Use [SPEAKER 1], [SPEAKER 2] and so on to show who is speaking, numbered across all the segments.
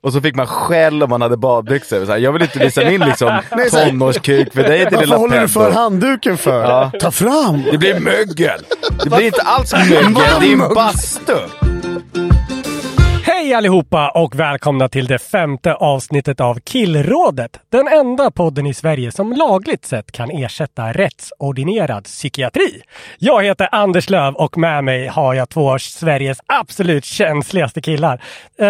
[SPEAKER 1] Och så fick man skäll om man hade badbyxor. Så här, jag vill inte visa min liksom, tonårskuk för dig till
[SPEAKER 2] Varför
[SPEAKER 1] lilla
[SPEAKER 2] håller du
[SPEAKER 1] peddo.
[SPEAKER 2] för handduken för?
[SPEAKER 1] Ja.
[SPEAKER 2] Ta fram!
[SPEAKER 1] Det blir mögel. Det blir inte alls mögel, det är en bastu.
[SPEAKER 3] Hej allihopa och välkomna till det femte avsnittet av Killrådet. Den enda podden i Sverige som lagligt sett kan ersätta rättsordinerad psykiatri. Jag heter Anders Löv och med mig har jag två av Sveriges absolut känsligaste killar. Eh,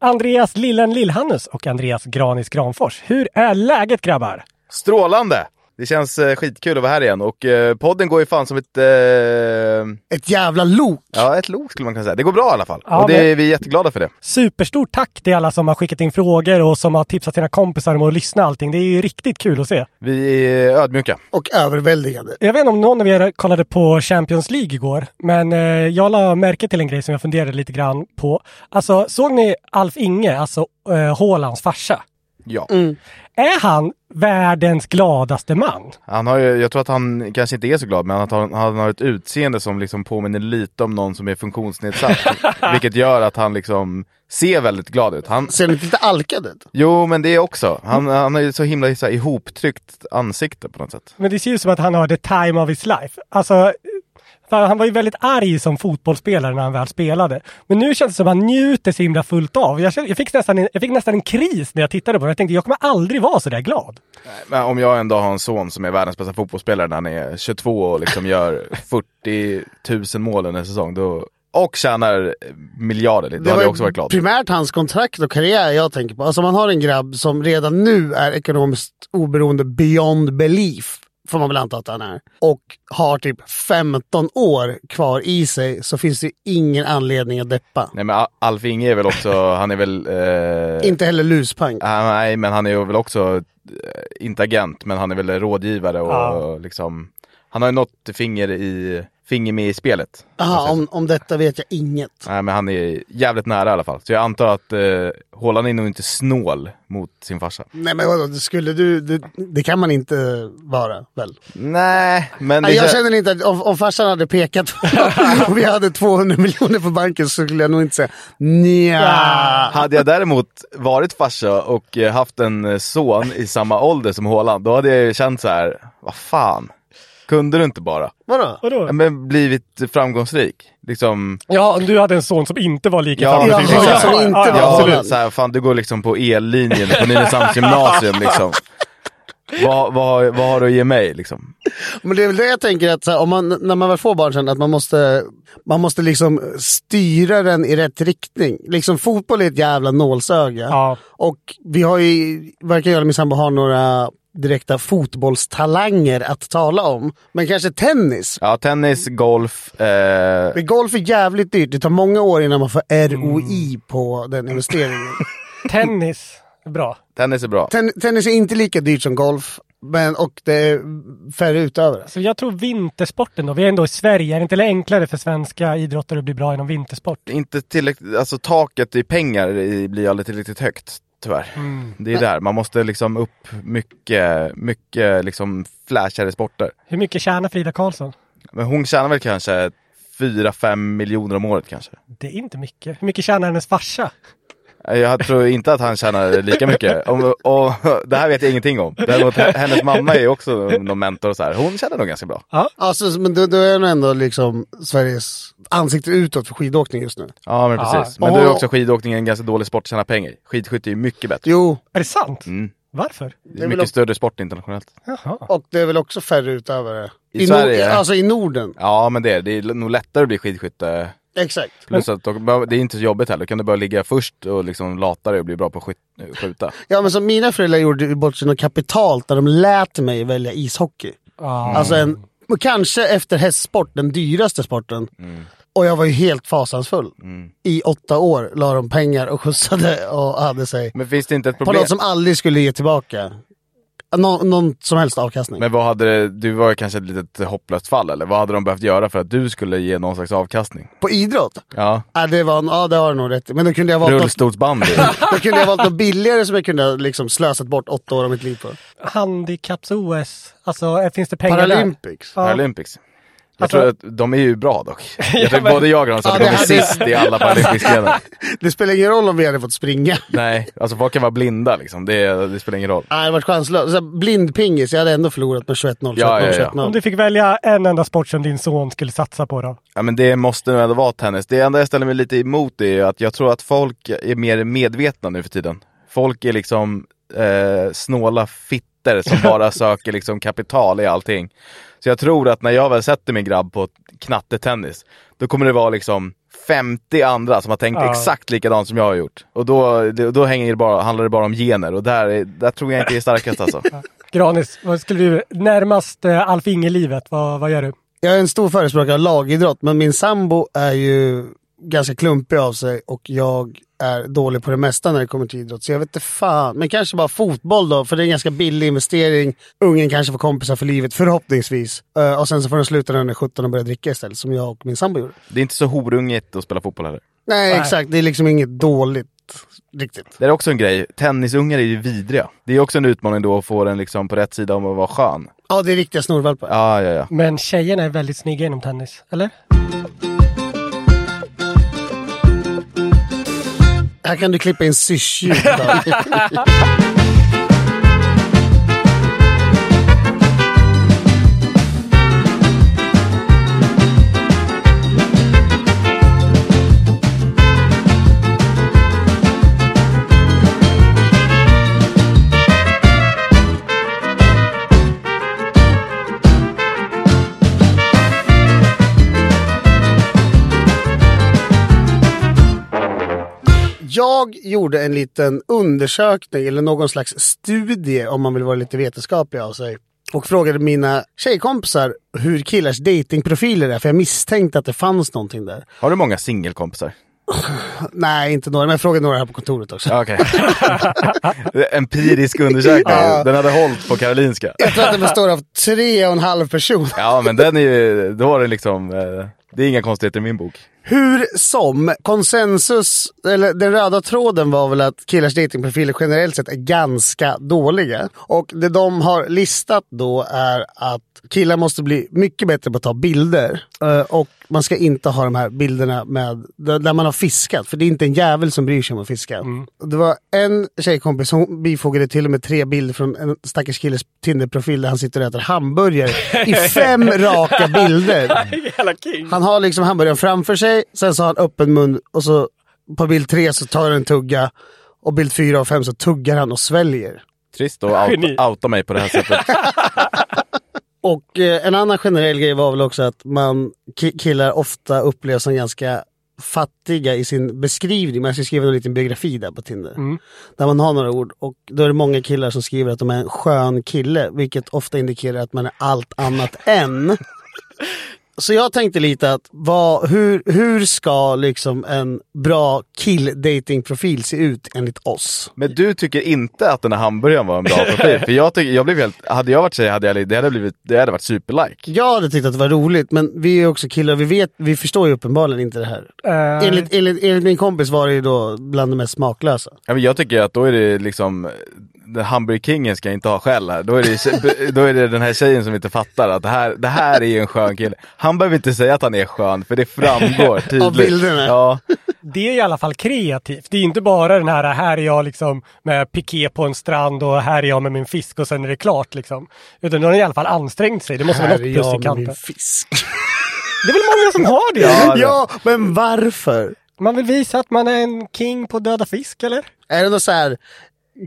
[SPEAKER 3] Andreas Lillen Lillhannus och Andreas Granis Granfors. Hur är läget grabbar?
[SPEAKER 1] Strålande. Det känns eh, skitkul att vara här igen och eh, podden går ju fan som ett... Eh,
[SPEAKER 2] Ett jävla lok!
[SPEAKER 1] ja, ett lok skulle man kunna säga. Det går bra i alla fall.
[SPEAKER 3] Ja,
[SPEAKER 1] och det,
[SPEAKER 3] men-
[SPEAKER 1] vi är jätteglada för det.
[SPEAKER 3] Superstort tack till alla som har skickat in frågor och som har tipsat sina kompisar om att lyssna allting. Det är ju riktigt kul att se.
[SPEAKER 1] Vi är ödmjuka.
[SPEAKER 2] Och överväldigande.
[SPEAKER 3] Jag vet inte om någon av er kollade på Champions League igår, men eh, jag la märke till en grej som jag funderade lite grann på. Alltså, såg ni Alf Inge, alltså eh, Haalands farsa?
[SPEAKER 1] Ja.
[SPEAKER 3] Är han världens gladaste man?
[SPEAKER 1] Han har ju, jag tror att han kanske inte är så glad, men han har, han har ett utseende som liksom påminner lite om någon som är funktionsnedsatt. vilket gör att han liksom ser väldigt glad ut. Han,
[SPEAKER 2] Ser du inte alkad ut?
[SPEAKER 1] jo, men det också. Han, han har ju så himla så här, ihoptryckt ansikte på något sätt.
[SPEAKER 3] Men det ser ju ut som att han har the time of his life. Alltså, för han var ju väldigt arg som fotbollsspelare när han väl spelade. Men nu känns det som att han njuter så himla fullt av. Jag, kände- jag, fick, nästan en, jag fick nästan en kris när jag tittade på det. Jag tänkte, jag kommer aldrig vara så där glad.
[SPEAKER 1] Men om jag en dag har en son som är världens bästa fotbollsspelare när han är 22 och liksom gör 40 000 mål under en säsong, då, och tjänar miljarder, då hade jag också varit glad.
[SPEAKER 2] primärt hans kontrakt och karriär jag tänker på. Alltså man har en grabb som redan nu är ekonomiskt oberoende beyond belief, får man väl anta att han är. Och har typ 15 år kvar i sig så finns det ju ingen anledning att deppa.
[SPEAKER 1] Nej men Al- Alf Inge är väl också, han är väl... Eh,
[SPEAKER 2] Inte heller luspank.
[SPEAKER 1] Ah, nej, men han är ju väl också, eh, inte agent, men han är väl rådgivare och
[SPEAKER 3] Ja.
[SPEAKER 1] liksom, han har ju något finger, i, finger med i spelet.
[SPEAKER 2] Aha, om, om detta vet jag inget.
[SPEAKER 1] Nej, men han är jävligt nära i alla fall. Så jag antar att eh, Haaland är nog inte snål mot sin farsa.
[SPEAKER 2] Nej men vadå, det skulle du, det, det kan man inte vara väl?
[SPEAKER 1] Nej, men det
[SPEAKER 2] Nej, jag
[SPEAKER 1] kän-
[SPEAKER 2] känner inte att om, om farsan hade pekat på och vi hade 200 miljoner på banken så skulle jag nog inte säga nja.
[SPEAKER 1] Hade jag däremot varit farsa och eh, haft en eh, son i samma ålder som Haaland, då hade jag ju känt så här, vad fan, kunde du inte bara?
[SPEAKER 2] Vadå?
[SPEAKER 3] Vadå?
[SPEAKER 1] Ja, Men blivit framgångsrik. Liksom,
[SPEAKER 3] Ja, om du hade en son som inte var lika
[SPEAKER 1] Ja,
[SPEAKER 3] framgångsrik som
[SPEAKER 2] Jaha,
[SPEAKER 3] jag.
[SPEAKER 2] som
[SPEAKER 3] Ja,
[SPEAKER 2] inte
[SPEAKER 3] ja,
[SPEAKER 2] var-
[SPEAKER 3] ja.
[SPEAKER 1] absolut.
[SPEAKER 2] Haaland.
[SPEAKER 1] Så här, fan, du går liksom på ellinjen på Nynäshamns gymnasium liksom. Vad, vad, vad har du att ge mig liksom?
[SPEAKER 2] Men det är väl det jag tänker att så här, om man, när man väl får barn sen, att man måste, man måste liksom styra den i rätt riktning. Liksom fotboll är ett jävla nålsöga.
[SPEAKER 3] Ja.
[SPEAKER 2] Och vi har ju, verkar jag och min sambo ha några direkta fotbollstalanger att tala om. Men kanske tennis.
[SPEAKER 1] Ja, tennis, golf, eh,
[SPEAKER 2] Men golf är jävligt dyrt. Det tar många år innan man får ROI på den investeringen.
[SPEAKER 3] Tennis. Bra.
[SPEAKER 1] tennis är bra.
[SPEAKER 2] Ten, tennis är inte lika dyrt som golf, men, och det är färre utövare.
[SPEAKER 3] Så jag tror vintersporten då. Vi är ändå i Sverige. Är det inte enklare för svenska idrottare att bli bra inom vintersport?
[SPEAKER 1] Inte tillräckligt, alltså taket i pengar i, blir aldrig tillräckligt högt. Tyvärr. Det är där, man måste liksom upp mycket, mycket liksom flashigare sporter.
[SPEAKER 3] Hur mycket tjänar Frida Karlsson?
[SPEAKER 1] Men hon tjänar väl kanske 4-5 miljoner om året kanske.
[SPEAKER 3] Det är inte mycket. Hur mycket tjänar hennes farsa?
[SPEAKER 1] Jag tror inte att han tjänar lika mycket. Om, och, det här vet jag ingenting om. Däremot, hennes mamma är också någon mentor och så här. Hon tjänar nog ganska bra.
[SPEAKER 2] Alltså, men du, du är nog ändå liksom Sveriges ansikte utåt för skidåkning just nu.
[SPEAKER 1] Ja men precis. Men
[SPEAKER 2] Och-
[SPEAKER 1] du är också skidåkning en ganska dålig sport att tjäna pengar i. Skidskytte är ju mycket bättre.
[SPEAKER 2] Jo,
[SPEAKER 3] Är det sant?
[SPEAKER 1] Mm.
[SPEAKER 3] Varför?
[SPEAKER 1] Det är
[SPEAKER 2] väl
[SPEAKER 1] mycket
[SPEAKER 2] också-
[SPEAKER 1] större sport internationellt.
[SPEAKER 3] Jaha.
[SPEAKER 2] och det är väl också färre utövare.
[SPEAKER 1] I Sverige?
[SPEAKER 2] Nor- alltså i Norden.
[SPEAKER 1] Ja men det är det. är nog lättare att bli skidskytte.
[SPEAKER 2] Exakt.
[SPEAKER 1] Plus att då- det är inte så jobbigt heller. Då kan du bara ligga först och liksom lata dig och bli bra på att skyt- skjuta.
[SPEAKER 2] Ja men som mina föräldrar gjorde bort sig något kapitalt när de lät mig välja ishockey.
[SPEAKER 3] Ah.
[SPEAKER 2] Alltså en, och kanske efter hästsport, den dyraste sporten.
[SPEAKER 1] Mm.
[SPEAKER 2] Och jag var ju helt fasansfull. I åtta år la de pengar och skjutsade och hade sig.
[SPEAKER 1] Men finns det inte ett
[SPEAKER 2] På
[SPEAKER 1] problem?
[SPEAKER 2] något som aldrig skulle ge tillbaka. Nå- någon som helst avkastning.
[SPEAKER 1] Men vad hade det, du var ju kanske ett litet hopplöst fall eller? Vad hade de behövt göra för att du skulle ge någon slags avkastning?
[SPEAKER 2] På idrott?
[SPEAKER 1] Ja,
[SPEAKER 2] Ja, det, var, en- ja, det har du nog rätt i. Men då kunde jag valt något,
[SPEAKER 1] rullstolsbandy.
[SPEAKER 2] då kunde jag valt något billigare som jag kunde ha liksom slösat bort åtta år av mitt liv på.
[SPEAKER 3] Handikapps-OS, alltså finns det pengar där?
[SPEAKER 2] Paralympics.
[SPEAKER 3] Ja.
[SPEAKER 1] Paralympics. Jag
[SPEAKER 3] Alltså-
[SPEAKER 1] tror att de är ju bra dock. Jag tror
[SPEAKER 3] men-
[SPEAKER 1] både jag och Grahn sa
[SPEAKER 2] Ja,
[SPEAKER 1] att de
[SPEAKER 2] det
[SPEAKER 1] är
[SPEAKER 2] hade-
[SPEAKER 1] sist i alla paralympiska grenar.
[SPEAKER 2] Det spelar ingen roll om vi hade fått springa.
[SPEAKER 1] Nej, alltså folk kan vara blinda liksom. Det, det spelar ingen roll.
[SPEAKER 2] Nej, det var chanslöst. Så här, Blindpingis, jag hade ändå förlorat med 21-0, 21-0,
[SPEAKER 1] Ja, ja, ja.
[SPEAKER 2] 21-0.
[SPEAKER 3] Om du fick välja en enda sport som din son skulle satsa på då?
[SPEAKER 1] Ja men det måste nog ändå vara tennis. Det enda jag ställer mig lite emot är ju att jag tror att folk är mer medvetna nu för tiden. Folk är liksom eh, snåla fitter som bara söker liksom kapital i allting. Så jag tror att när jag väl sätter min grabb på knattetennis, då kommer det vara liksom 50 andra som har tänkt
[SPEAKER 3] Ja.
[SPEAKER 1] exakt likadant som jag har gjort. Och då, då hänger det bara, handlar det bara om gener och där, är- där tror jag inte det är starkast alltså.
[SPEAKER 3] Granis, vad skulle du närmast eh, Alf Inge-livet, vad, vad gör du?
[SPEAKER 2] Jag är en stor förespråkare av lagidrott, men min sambo är ju ganska klumpig av sig och jag är dålig på det mesta när det kommer till idrott. Så jag vet inte fan. Men kanske bara fotboll då, för det är en ganska billig investering. Ungen kanske får kompisar för livet, förhoppningsvis. Eh, och sen så får den sluta när den är 17 och börja dricka istället, som jag och min sambo gjorde.
[SPEAKER 1] Det är inte så horungigt att spela fotboll heller.
[SPEAKER 2] Nej,
[SPEAKER 3] Nej.
[SPEAKER 2] exakt. Det är liksom inget dåligt. Riktigt.
[SPEAKER 1] Det är också en grej, tennisungar är ju vidriga. Det är också en utmaning då att få den liksom på rätt sida om att vara skön.
[SPEAKER 2] Ja, det är riktiga snorvalpar.
[SPEAKER 1] Ja, ja, ja.
[SPEAKER 3] Men tjejerna är väldigt snygga inom tennis, eller?
[SPEAKER 2] Här kan du klippa in syrsljud. då. Jag gjorde en liten undersökning eller någon slags studie om man vill vara lite vetenskaplig av sig. Och frågade mina tjejkompisar hur killars datingprofiler är för jag misstänkte att det fanns någonting där.
[SPEAKER 1] Har du många singelkompisar?
[SPEAKER 2] Nej, inte några, men jag frågade några här på kontoret också.
[SPEAKER 1] Ja, Okej. Det är Empirisk undersökning.
[SPEAKER 2] Ja.
[SPEAKER 1] Den hade hållit på Karolinska.
[SPEAKER 2] Jag tror att det består av tre och en halv person.
[SPEAKER 1] Ja, men den är ju, då har den liksom, eh, det är inga konstigheter i min bok.
[SPEAKER 2] Hur som, konsensus, eller den röda tråden var väl att killars datingprofiler generellt sett är ganska dåliga. Och det de har listat då är att killar måste bli mycket bättre på att ta bilder. Eh, Och man ska inte ha de här bilderna med, där där man har fiskat, för det är inte en jävel som bryr sig om att fiska. Och Det var en tjejkompis som bifogade till och med tre bilder från en stackars killes Tinder-profil där han sitter och äter hamburgare i fem raka bilder.
[SPEAKER 3] Jävla king!
[SPEAKER 2] Han har liksom hamburgaren framför sig, sen så har han öppen mun och så på bild tre så tar han en tugga och bild fyra och fem så tuggar han och sväljer.
[SPEAKER 1] Trist att
[SPEAKER 3] Geni.
[SPEAKER 1] out, outa mig på det här sättet.
[SPEAKER 2] Och eh, en annan generell grej var väl också att man ki- killar ofta upplevs som ganska fattiga i sin beskrivning. Man ska skriva en liten biografi där på Tinder. Där man har några ord och då är det många killar som skriver att de är en skön kille. Vilket ofta indikerar att man är allt annat än. Så jag tänkte lite att vad, hur, hur ska liksom en bra kill-dating-profil se ut enligt oss?
[SPEAKER 1] Men du tycker inte att den här hamburgaren var en bra profil? För jag, tycker, jag blev helt, hade jag varit tjej hade jag, det hade blivit, det hade varit superlike.
[SPEAKER 2] Jag hade tyckt att det var roligt men vi är också killar vi vet, vi förstår ju uppenbarligen inte det här. Enligt, enligt, enligt min kompis var det ju då bland de mest smaklösa.
[SPEAKER 1] Ja, men jag tycker att då är det liksom, den hamburgerkingen ska inte ha skäll här. Då är, det, då är det den här tjejen som inte fattar att det här, det här är ju en skön kille. Han behöver inte säga att han är skön för det framgår tydligt.
[SPEAKER 2] Av bilderna.
[SPEAKER 1] Ja,
[SPEAKER 3] Det är i alla fall kreativt. Det är inte bara den här, här är jag liksom med piké på en strand och här är jag med min fisk och sen är det klart liksom. Utan de har i alla fall ansträngt sig. Det måste vara
[SPEAKER 2] Här
[SPEAKER 3] något
[SPEAKER 2] är
[SPEAKER 3] plus i
[SPEAKER 2] jag med
[SPEAKER 3] kanten.
[SPEAKER 2] min fisk.
[SPEAKER 3] Det är väl många som har det?
[SPEAKER 1] Ja, det-
[SPEAKER 2] Ja, men varför?
[SPEAKER 3] Man vill visa att man är en king på döda fisk eller?
[SPEAKER 2] Är det något så här,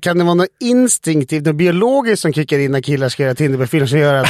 [SPEAKER 2] kan det vara något instinktivt, något biologiskt som kickar in när killar ska göra Tinderprofiler som gör att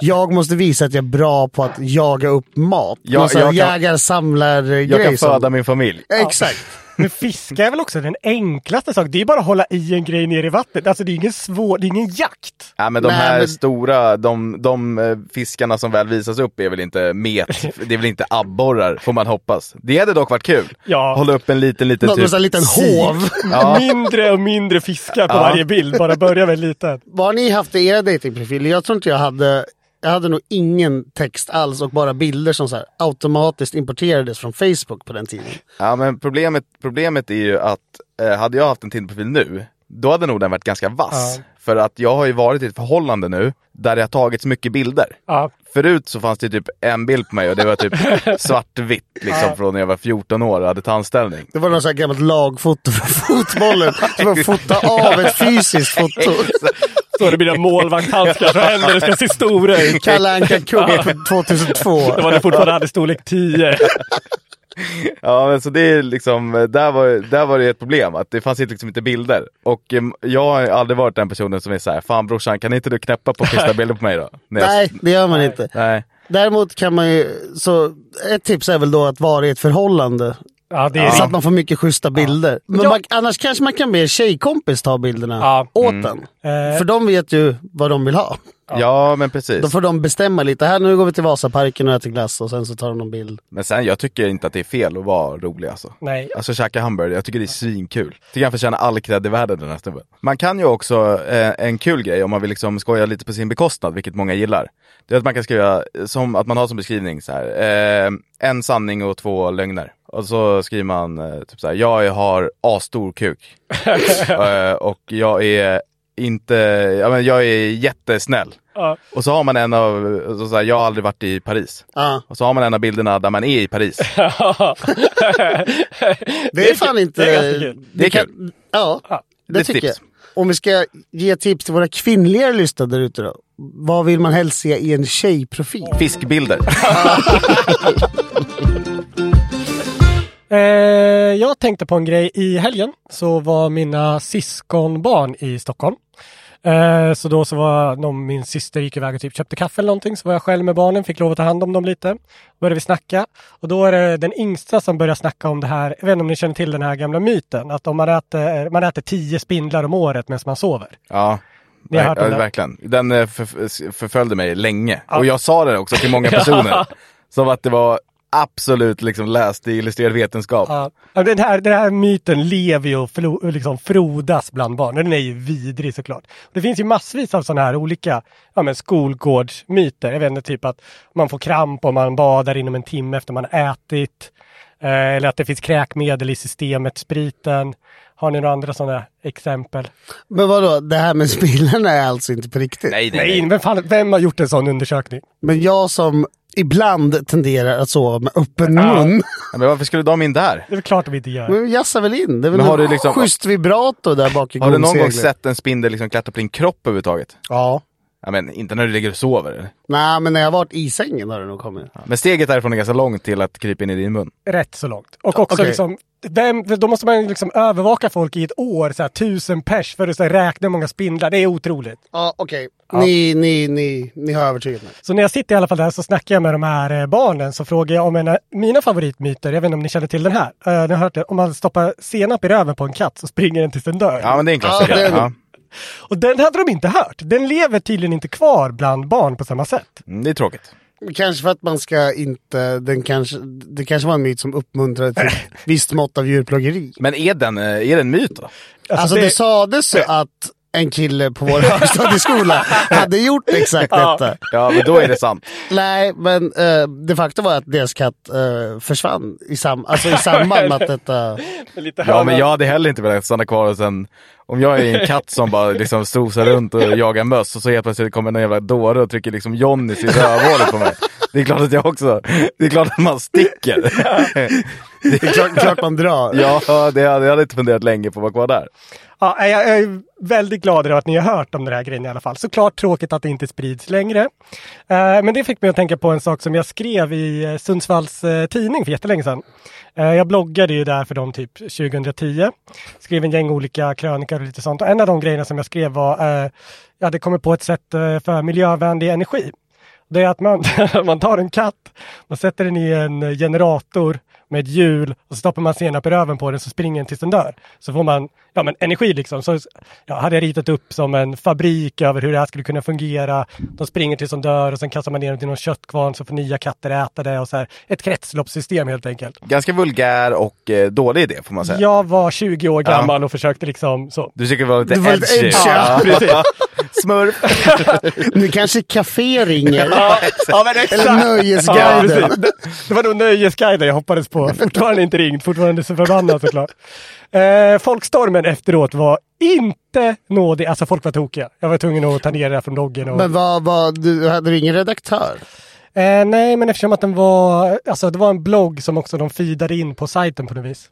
[SPEAKER 2] jag måste visa att jag är bra på att jaga upp mat?
[SPEAKER 1] Ja,
[SPEAKER 2] Någon sån här
[SPEAKER 1] jag kan-
[SPEAKER 2] jägar, samlar
[SPEAKER 1] jag
[SPEAKER 2] grej
[SPEAKER 1] kan
[SPEAKER 2] som-
[SPEAKER 1] föda min familj.
[SPEAKER 2] Ja, Exakt.
[SPEAKER 3] Men fiska är väl också den enklaste saken. Det är bara att hålla i en grej ner i vattnet. Alltså det är ingen svår, det är ingen jakt.
[SPEAKER 1] Ja, men de
[SPEAKER 2] Nej,
[SPEAKER 1] här
[SPEAKER 2] men-
[SPEAKER 1] stora, de, de eh, fiskarna som väl visas upp är väl inte met, det är väl inte abborrar får man hoppas. Det hade dock varit kul.
[SPEAKER 3] Ja.
[SPEAKER 1] Hålla upp en liten, liten typ-
[SPEAKER 2] Någon sån här liten
[SPEAKER 1] sik.
[SPEAKER 2] hov.
[SPEAKER 1] Ja.
[SPEAKER 3] Mindre och mindre fiskar på varje bild. Bara börja med en liten.
[SPEAKER 2] Vad har ni haft i era datingprofiler? Jag tror inte jag hade... Jag hade nog ingen text alls och bara bilder som så här automatiskt importerades från Facebook på den tiden.
[SPEAKER 1] Ja men problemet, problemet är ju att eh, hade jag haft en Tinderprofil nu, då hade nog den varit ganska vass. För att jag har ju varit i ett förhållande nu där det har tagits mycket bilder.
[SPEAKER 3] Ja.
[SPEAKER 1] Förut så fanns det typ en bild på mig och det var typ svartvitt liksom från när jag var 14 år och hade tandställning.
[SPEAKER 2] Det var något så här gammalt lagfoto för fotbollen. Som att fota av ett fysiskt foto.
[SPEAKER 3] Så det blir en målvakthandskar så händer det ska se stora ut.
[SPEAKER 2] Kalle Anka kung från 2002.
[SPEAKER 3] Det var det fortfarande hade storlek 10.
[SPEAKER 1] Ja men så det är liksom, eh, där var, där var det ett problem att det fanns liksom inte bilder. Och eh, jag har aldrig varit den personen som är så här, fan brorsan kan inte du knäppa på första bilden på mig då? När jag-
[SPEAKER 2] Nej, det gör man inte.
[SPEAKER 1] Nej.
[SPEAKER 2] Däremot kan man ju... Så ett tips är väl då att vara i ett förhållande.
[SPEAKER 3] Ja, det är
[SPEAKER 2] Så
[SPEAKER 3] ja.
[SPEAKER 2] att man får mycket schyssta bilder. Men
[SPEAKER 3] Ja.
[SPEAKER 2] man, annars kanske man kan be en tjejkompis ta bilderna
[SPEAKER 3] Ja. Mm. Eh.
[SPEAKER 2] åt en. För de vet ju vad de vill ha.
[SPEAKER 1] Ja men precis.
[SPEAKER 2] Då får de bestämma lite. Här nu går vi till Vasaparken och äter glass och sen så tar de någon bild.
[SPEAKER 1] Men sen, jag tycker inte att det är fel att vara rolig alltså.
[SPEAKER 3] Nej.
[SPEAKER 1] Alltså käka hamburgare, jag tycker det är svinkul. Tycker han förtjänar all cred i världen den här snubben. Man kan ju också, eh, en kul grej om man vill liksom skoja lite på sin bekostnad, vilket många gillar. Det är att man kan skriva, eh, som, att man har som beskrivning så här, eh, en sanning och två lögner. Och så skriver man eh, typ så här, jag har asstor kuk. eh, och jag är inte, ja men jag är jättesnäll.
[SPEAKER 3] Ja.
[SPEAKER 1] Och så har man en av, så så här, jag har aldrig varit i Paris.
[SPEAKER 2] Ja.
[SPEAKER 1] Och så har man en av bilderna där man är i Paris.
[SPEAKER 2] Det är fan inte...
[SPEAKER 3] det är ganska kul.
[SPEAKER 1] Det är
[SPEAKER 2] kan-
[SPEAKER 1] kul.
[SPEAKER 2] Ja, det,
[SPEAKER 1] det är
[SPEAKER 2] tycker
[SPEAKER 1] tips.
[SPEAKER 2] jag. Om vi ska ge tips till våra kvinnliga lyssnare där ute då. Vad vill man helst se i en tjejprofil?
[SPEAKER 1] Fiskbilder.
[SPEAKER 3] Eh, jag tänkte på en grej. I helgen så var mina syskonbarn i Stockholm. Eh, så då så var de, min syster gick iväg och typ köpte kaffe eller någonting. Så var jag själv med barnen, fick lov att ta hand om dem lite. Började vi snacka. Och då är det den yngsta som börjar snacka om det här. Jag vet inte om ni känner till den här gamla myten. Att om man äter, man äter tio spindlar om året medan man sover.
[SPEAKER 1] Ja.
[SPEAKER 3] Ni har
[SPEAKER 1] Ver-
[SPEAKER 3] hört om
[SPEAKER 1] ja,
[SPEAKER 3] det?
[SPEAKER 1] verkligen. Den eh, förf- förföljde mig länge. Och jag sa det också till många personer. Som att det var absolut liksom läst i illustrerad vetenskap.
[SPEAKER 3] Ja. Ja, Den här, den här myten lever ju och flo, liksom frodas bland barn. Den är ju vidrig såklart. Det finns ju massvis av sådana här olika ja, men skolgårdsmyter. Jag vet inte, typ att man får kramp om man badar inom en timme efter man ätit. Eh, eller att det finns kräkmedel i systemet, spriten. Har ni några andra sådana exempel?
[SPEAKER 2] Men vadå, det här med spillarna är alltså inte på riktigt?
[SPEAKER 3] Nej, vem, fan, vem har gjort en sån undersökning?
[SPEAKER 2] Men jag som ibland tenderar att sova med öppen
[SPEAKER 3] Ja.
[SPEAKER 2] mun.
[SPEAKER 1] Ja, Men varför skulle de in där?
[SPEAKER 3] Det är väl klart de inte gör.
[SPEAKER 2] Men jassar väl in? Det är väl
[SPEAKER 1] Men har
[SPEAKER 2] en
[SPEAKER 1] du liksom-
[SPEAKER 2] schysst vibrato där bak i
[SPEAKER 1] Har du någon gång
[SPEAKER 2] gomseglet.
[SPEAKER 1] sett en spindel liksom klättra på din kropp överhuvudtaget?
[SPEAKER 2] Ja.
[SPEAKER 1] Ja, men inte när du ligger och sover. eller?
[SPEAKER 2] Nej, men när jag har varit i sängen har det nog kommit.
[SPEAKER 1] Men steget därifrån är ganska långt till att krypa in i din mun.
[SPEAKER 3] Rätt så långt. Och också
[SPEAKER 2] Okej.
[SPEAKER 3] liksom, vem, då måste man liksom övervaka folk i ett år, så här, tusen pers, för att så här, räkna hur många spindlar. Det är otroligt.
[SPEAKER 2] Ja, okej. Ni, ni, ni, ni har övertygat mig.
[SPEAKER 3] Så när jag sitter i alla fall där så snackar jag med de här eh, barnen så frågar jag om en av mina favoritmyter, jag vet inte om ni känner till den här, uh, ni har hört det, om man stoppar senap i röven på en katt så springer den tills den dör.
[SPEAKER 1] Ja, men det är en klassiker.
[SPEAKER 2] Ja, det är det.
[SPEAKER 1] Ja.
[SPEAKER 3] Och den hade de inte hört. Den lever tydligen inte kvar bland barn på samma sätt.
[SPEAKER 1] Mm, det är tråkigt.
[SPEAKER 2] Kanske för att man ska inte, den kanske, det kanske var en myt som uppmuntrade till ett visst mått av djurplågeri.
[SPEAKER 1] Men är den, eh, är den myt då?
[SPEAKER 2] Alltså
[SPEAKER 3] det-
[SPEAKER 2] det, sades ju att en kille på vår högstadieskola hade gjort exakt detta.
[SPEAKER 1] Ja, men då är det sant.
[SPEAKER 2] Nej, men eh, det faktum var att deras katt eh, försvann i, sam- alltså i samband med att detta...
[SPEAKER 3] Lite
[SPEAKER 1] Ja, men
[SPEAKER 3] hönan.
[SPEAKER 1] jag hade heller inte velat stanna kvar och sen, om jag är en katt som bara liksom strosar runt och jagar möss och så helt plötsligt kommer någon jävla dåre och trycker liksom Johnnys i rövhålet på mig. Det är klart att jag också, det är klart att man sticker. Det är klart,
[SPEAKER 2] Klart, klart man drar.
[SPEAKER 1] ja, det hade, jag hade inte funderat länge på att vara kvar där.
[SPEAKER 3] Ja, nej, jag är väldigt glad över att ni har hört om den här grejen i alla fall. Såklart tråkigt att det inte sprids längre. Eh, Men det fick mig att tänka på en sak som jag skrev i eh, Sundsvalls eh, tidning för jättelänge sedan. Eh, Jag bloggade ju där för dem typ 2010. Skrev en gäng olika krönikor och lite sånt. Och en av de grejerna som jag skrev var eh, jag hade kommit på ett sätt eh, för miljövänlig energi. Det är att man, man tar en katt, man sätter den i en generator med ett hjul och så stoppar man senap i röven på den så springer den tills den dör. Så får man ja, men energi liksom. Så ja, hade jag ritat upp som en fabrik över hur det här skulle kunna fungera. De springer tills de dör och sen kastar man ner dem till någon köttkvarn så får nya katter äta det och så här. Ett kretsloppssystem helt enkelt.
[SPEAKER 1] Ganska vulgär och eh, dålig idé får man säga.
[SPEAKER 3] Jag var 20 år gammal och försökte liksom så.
[SPEAKER 1] Du tycker det var lite
[SPEAKER 2] Det var lite
[SPEAKER 1] edgy.
[SPEAKER 2] edgy, ja,
[SPEAKER 1] Smurf.
[SPEAKER 2] Nu kanske café ringer.
[SPEAKER 3] Ja, men exakt.
[SPEAKER 2] Eller Nöjesguiden.
[SPEAKER 3] Ja, precis. det, det var nog Nöjesguiden jag hoppades på. Fortfarande inte ringt, fortfarande så förbannad såklart. Eh, folkstormen efteråt var inte nådig. Alltså folk var tokiga. Jag var tvungen att ta ner det här från loggen. Och,
[SPEAKER 2] Men vad, vad, du hade du ingen redaktör?
[SPEAKER 3] eh, nej, men eftersom att den var... Alltså det var en blogg som också de feedade in på sajten på något vis.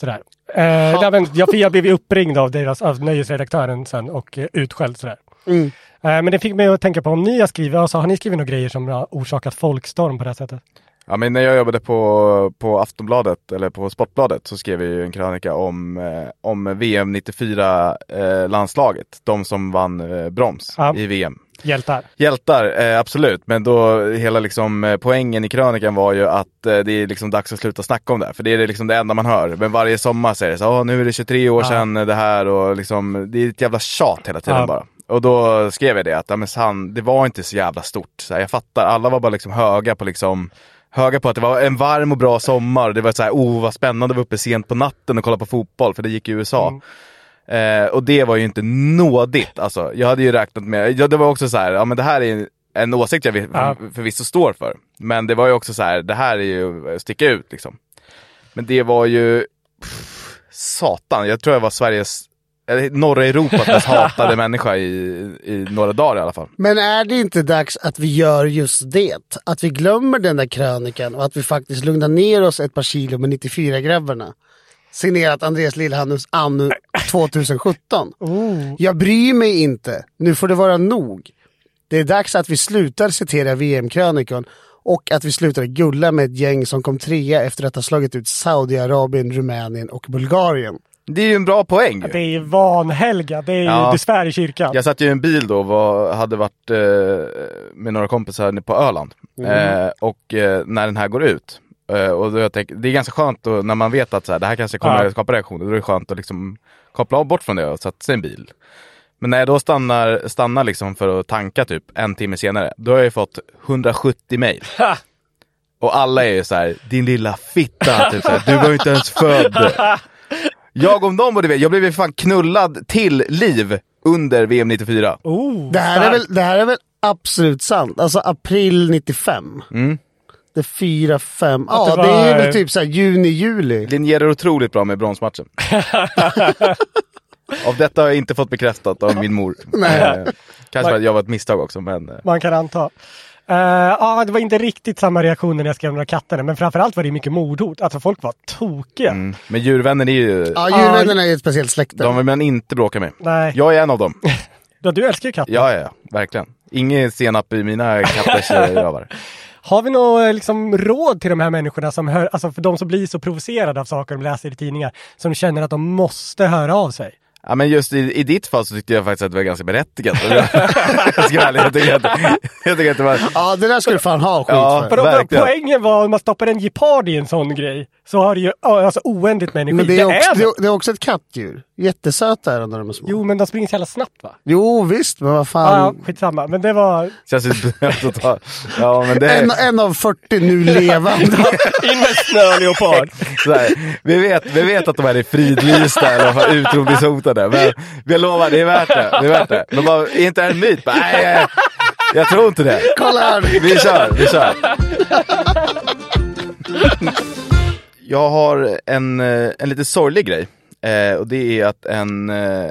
[SPEAKER 3] Sådär. Eh, nej, men jag, för jag blev ju uppringd av, deras, av nöjesredaktören sen och eh, utskälld sådär. Eh, men det fick mig att tänka på om ni har skrivit, alltså, har ni skrivit några grejer som har orsakat folkstorm på det här sättet?
[SPEAKER 1] Ja, men när jag jobbade på, på Aftonbladet, eller på Sportbladet, så skrev jag ju en krönika om, eh, om VM 94-landslaget. eh, de som vann eh, broms
[SPEAKER 3] Ja.
[SPEAKER 1] i VM.
[SPEAKER 3] Hjältar?
[SPEAKER 1] Hjältar, eh, absolut. Men då hela liksom, eh, poängen i krönikan var ju att eh, det är liksom dags att sluta snacka om det. här, För det är det liksom det enda man hör. Men varje sommar säger det så här, "Åh, nu är det 23 år
[SPEAKER 3] Ja.
[SPEAKER 1] sedan eh, det här och liksom, det är ett jävla tjat hela tiden
[SPEAKER 3] Ja.
[SPEAKER 1] bara. Och då skrev jag det att, ja, men han, det var inte så jävla stort. Så här, jag fattar, alla var bara liksom höga på liksom Höga på att det var en varm och bra sommar. Det var så här, oh vad spännande att vara uppe sent på natten och kolla på fotboll, för det gick i USA.
[SPEAKER 3] Mm.
[SPEAKER 1] Eh, och det var ju inte nådigt. Alltså, jag hade ju räknat med, ja, det var också så här, ja men det här är ju en åsikt jag vill-
[SPEAKER 3] Ja.
[SPEAKER 1] förvisso står för. Men det var ju också så här, det här är ju att sticka ut liksom. Men det var ju, pff, satan, jag tror jag var Sveriges, eller norra Europas mest hatade människa i, i några dagar i alla fall.
[SPEAKER 2] Men är det inte dags att vi gör just det? Att vi glömmer den där krönikan och att vi faktiskt lugnar ner oss ett par kilo med 94-grabbarna. Signerat Andreas Lillhannus anno 2017. Jag bryr mig inte. Nu får det vara nog. Det är dags att vi slutar citera VM-krönikan och att vi slutar gulla med ett gäng som kom trea efter att ha slagit ut Saudiarabien, Rumänien och Bulgarien.
[SPEAKER 1] Det är ju en bra poäng.
[SPEAKER 3] Det är ju vanhelga, det är ju
[SPEAKER 1] Ja.
[SPEAKER 3] du svär i kyrkan.
[SPEAKER 1] Jag satt ju i en bil då och var, hade varit eh, med några kompisar nere på Öland. Eh, och eh, när den här går ut. Eh, och då jag tänker, det är ganska skönt då, när man vet att så här, det här kanske kommer
[SPEAKER 3] Ja.
[SPEAKER 1] skapa reaktioner. Då är det skönt att liksom koppla av bort från det och sätta sig i en bil. Men när jag då stannar, stannar liksom för att tanka typ en timme senare. Då har jag ju fått 170 mejl. Och alla är ju så här, din lilla fitta, typ så här, du var ju inte ens född. Jag om dem borde veta, jag blev ju fan knullad till liv under VM 94.
[SPEAKER 3] Oh,
[SPEAKER 2] Det här, är
[SPEAKER 3] starkt.
[SPEAKER 2] väl, det här är väl absolut sant? Alltså april 95.
[SPEAKER 1] Mm.
[SPEAKER 2] Det är 4, 5. Ja,
[SPEAKER 3] Att det
[SPEAKER 2] det är
[SPEAKER 3] var-
[SPEAKER 2] väl typ så här juni, juli.
[SPEAKER 1] Linjerar otroligt bra med bronsmatchen. av detta har jag inte fått bekräftat av min mor. Eh, Kanske för att jag var ett misstag också, men... eh,
[SPEAKER 3] Man kan anta. Eh, ja, det var inte riktigt samma reaktioner när jag skrev de där katterna, men framförallt var det mycket mordhot. Alltså folk var tokiga.
[SPEAKER 1] Mm. Men djurvänner är ju...
[SPEAKER 2] Ja, julvännerna är ju ett speciellt släkte.
[SPEAKER 1] De vill man inte bråka med.
[SPEAKER 3] Nej,
[SPEAKER 1] Jag är en av dem.
[SPEAKER 3] ja, du älskar ju katter.
[SPEAKER 1] Ja, ja, ja. Verkligen. Ingen senap i mina katters eh, rövar.
[SPEAKER 3] Har vi något liksom, råd till de här människorna, som hör, alltså för de som blir så provocerade av saker de läser i tidningar, som känner att de måste höra av sig?
[SPEAKER 1] Ja men just i, i ditt fall så tyckte jag faktiskt att det var ganska berättigat. jag ska vara ärlig, jag tycker att, jag tycker att det var...
[SPEAKER 2] Ja, det där ska du fan ha skit
[SPEAKER 1] Ja.
[SPEAKER 2] för.
[SPEAKER 3] Vadå, vadå?
[SPEAKER 1] Verkligen.
[SPEAKER 3] poängen var om man stoppar en gepard i en sån grej, så har det ju ja, alltså, oändligt med energi.
[SPEAKER 2] Men det är, också, det,
[SPEAKER 3] det.
[SPEAKER 2] är, det är också ett kattdjur. Jättesöta är de när de är små. Jo,
[SPEAKER 3] Jo, men de springer så jävla snabbt va?
[SPEAKER 2] visst, men vad
[SPEAKER 3] Ja, ja,
[SPEAKER 2] fan.
[SPEAKER 3] skitsamma. Men det var...
[SPEAKER 1] Känns ju dumt att ta... Ja men det...
[SPEAKER 2] En, en av 40 nu levande.
[SPEAKER 3] In med snöleopard!
[SPEAKER 1] Så här, vi, vet, vi vet att de här är fridlysta eller vad fan, utrotningshotade skrattade. Men jag lovar, det är värt det. det, är värt det. Men bara, är inte det här en myt? Bara, nej, jag, jag tror inte det.
[SPEAKER 2] Kolla här!
[SPEAKER 1] Vi kör, vi kör. Jag har en, eh, en lite sorglig grej. Eh, och det är att en, eh,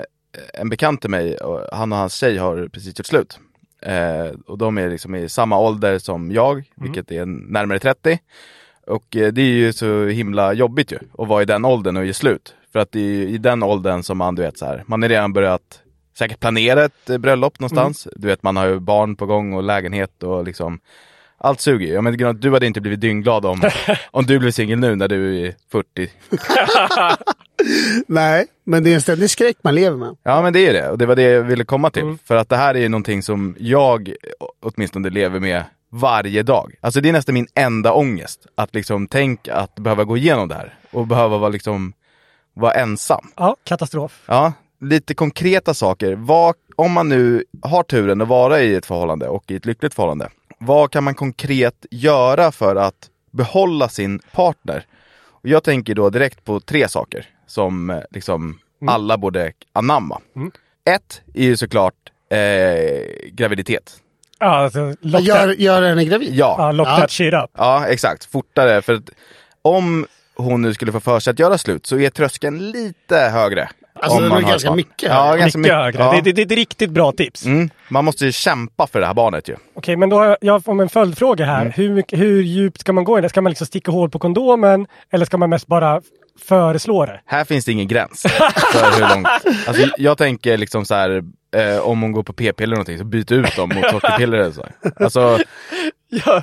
[SPEAKER 1] en bekant till mig, och han och hans tjej har precis gjort slut. Eh, och de är liksom i samma ålder som jag,
[SPEAKER 3] Mm.
[SPEAKER 1] vilket är närmare 30. Och eh, det är ju så himla jobbigt ju att vara i den åldern och ge slut. För att det är ju i den åldern som man, du vet så här, man har redan börjat säkert planera ett eh, bröllop någonstans. Du vet, man har ju barn på gång och lägenhet och liksom allt suger ju. Ja, men Gunnar, du hade inte blivit dyngglad om, om du blev singel nu när du är 40.
[SPEAKER 2] Nej, men det är en ständig skräck man lever med.
[SPEAKER 1] Ja men det är det, och det var det jag ville komma till. För att det här är ju någonting som jag å- åtminstone lever med varje dag. Alltså det är nästan min enda ångest. Att liksom tänk att behöva gå igenom det här och behöva vara liksom, vara ensam.
[SPEAKER 3] Ja, katastrof.
[SPEAKER 1] Ja, lite konkreta saker. Vad, om man nu har turen att vara i ett förhållande och i ett lyckligt förhållande. Vad kan man konkret göra för att behålla sin partner? Och jag tänker då direkt på tre saker som eh, liksom
[SPEAKER 2] Mm.
[SPEAKER 1] alla borde anamma. Ett är ju såklart eh, graviditet.
[SPEAKER 3] Ja, alltså, lock,
[SPEAKER 2] Gör,
[SPEAKER 3] gör...
[SPEAKER 2] gör henne gravid?
[SPEAKER 1] Ja,
[SPEAKER 3] ja, lock
[SPEAKER 2] Ja.
[SPEAKER 3] that shit up.
[SPEAKER 1] Ja, exakt. Fortare. För att om hon nu skulle få för sig att göra slut så är tröskeln lite högre.
[SPEAKER 2] Alltså,
[SPEAKER 1] om
[SPEAKER 2] det
[SPEAKER 1] man
[SPEAKER 2] är
[SPEAKER 1] har ett
[SPEAKER 2] ganska
[SPEAKER 1] barn.
[SPEAKER 2] mycket
[SPEAKER 1] Ja,
[SPEAKER 2] högre.
[SPEAKER 1] ganska
[SPEAKER 3] Mycket
[SPEAKER 1] mycket
[SPEAKER 3] högre.
[SPEAKER 1] Ja.
[SPEAKER 3] Det, det, det är ett riktigt bra tips.
[SPEAKER 1] Mm. Man måste ju kämpa för det här barnet ju.
[SPEAKER 3] Okej, men då har jag, jag har en följdfråga här.
[SPEAKER 1] Mm.
[SPEAKER 3] Hur, mycket- hur djupt ska man gå i det? Ska man liksom sticka hål på kondomen eller ska man mest bara föreslå det?
[SPEAKER 1] Här finns det ingen gräns för hur långt. Alltså, jag tänker liksom så här, eh, om hon går på p-piller eller någonting så byt ut dem mot sockerpiller eller så. Alltså,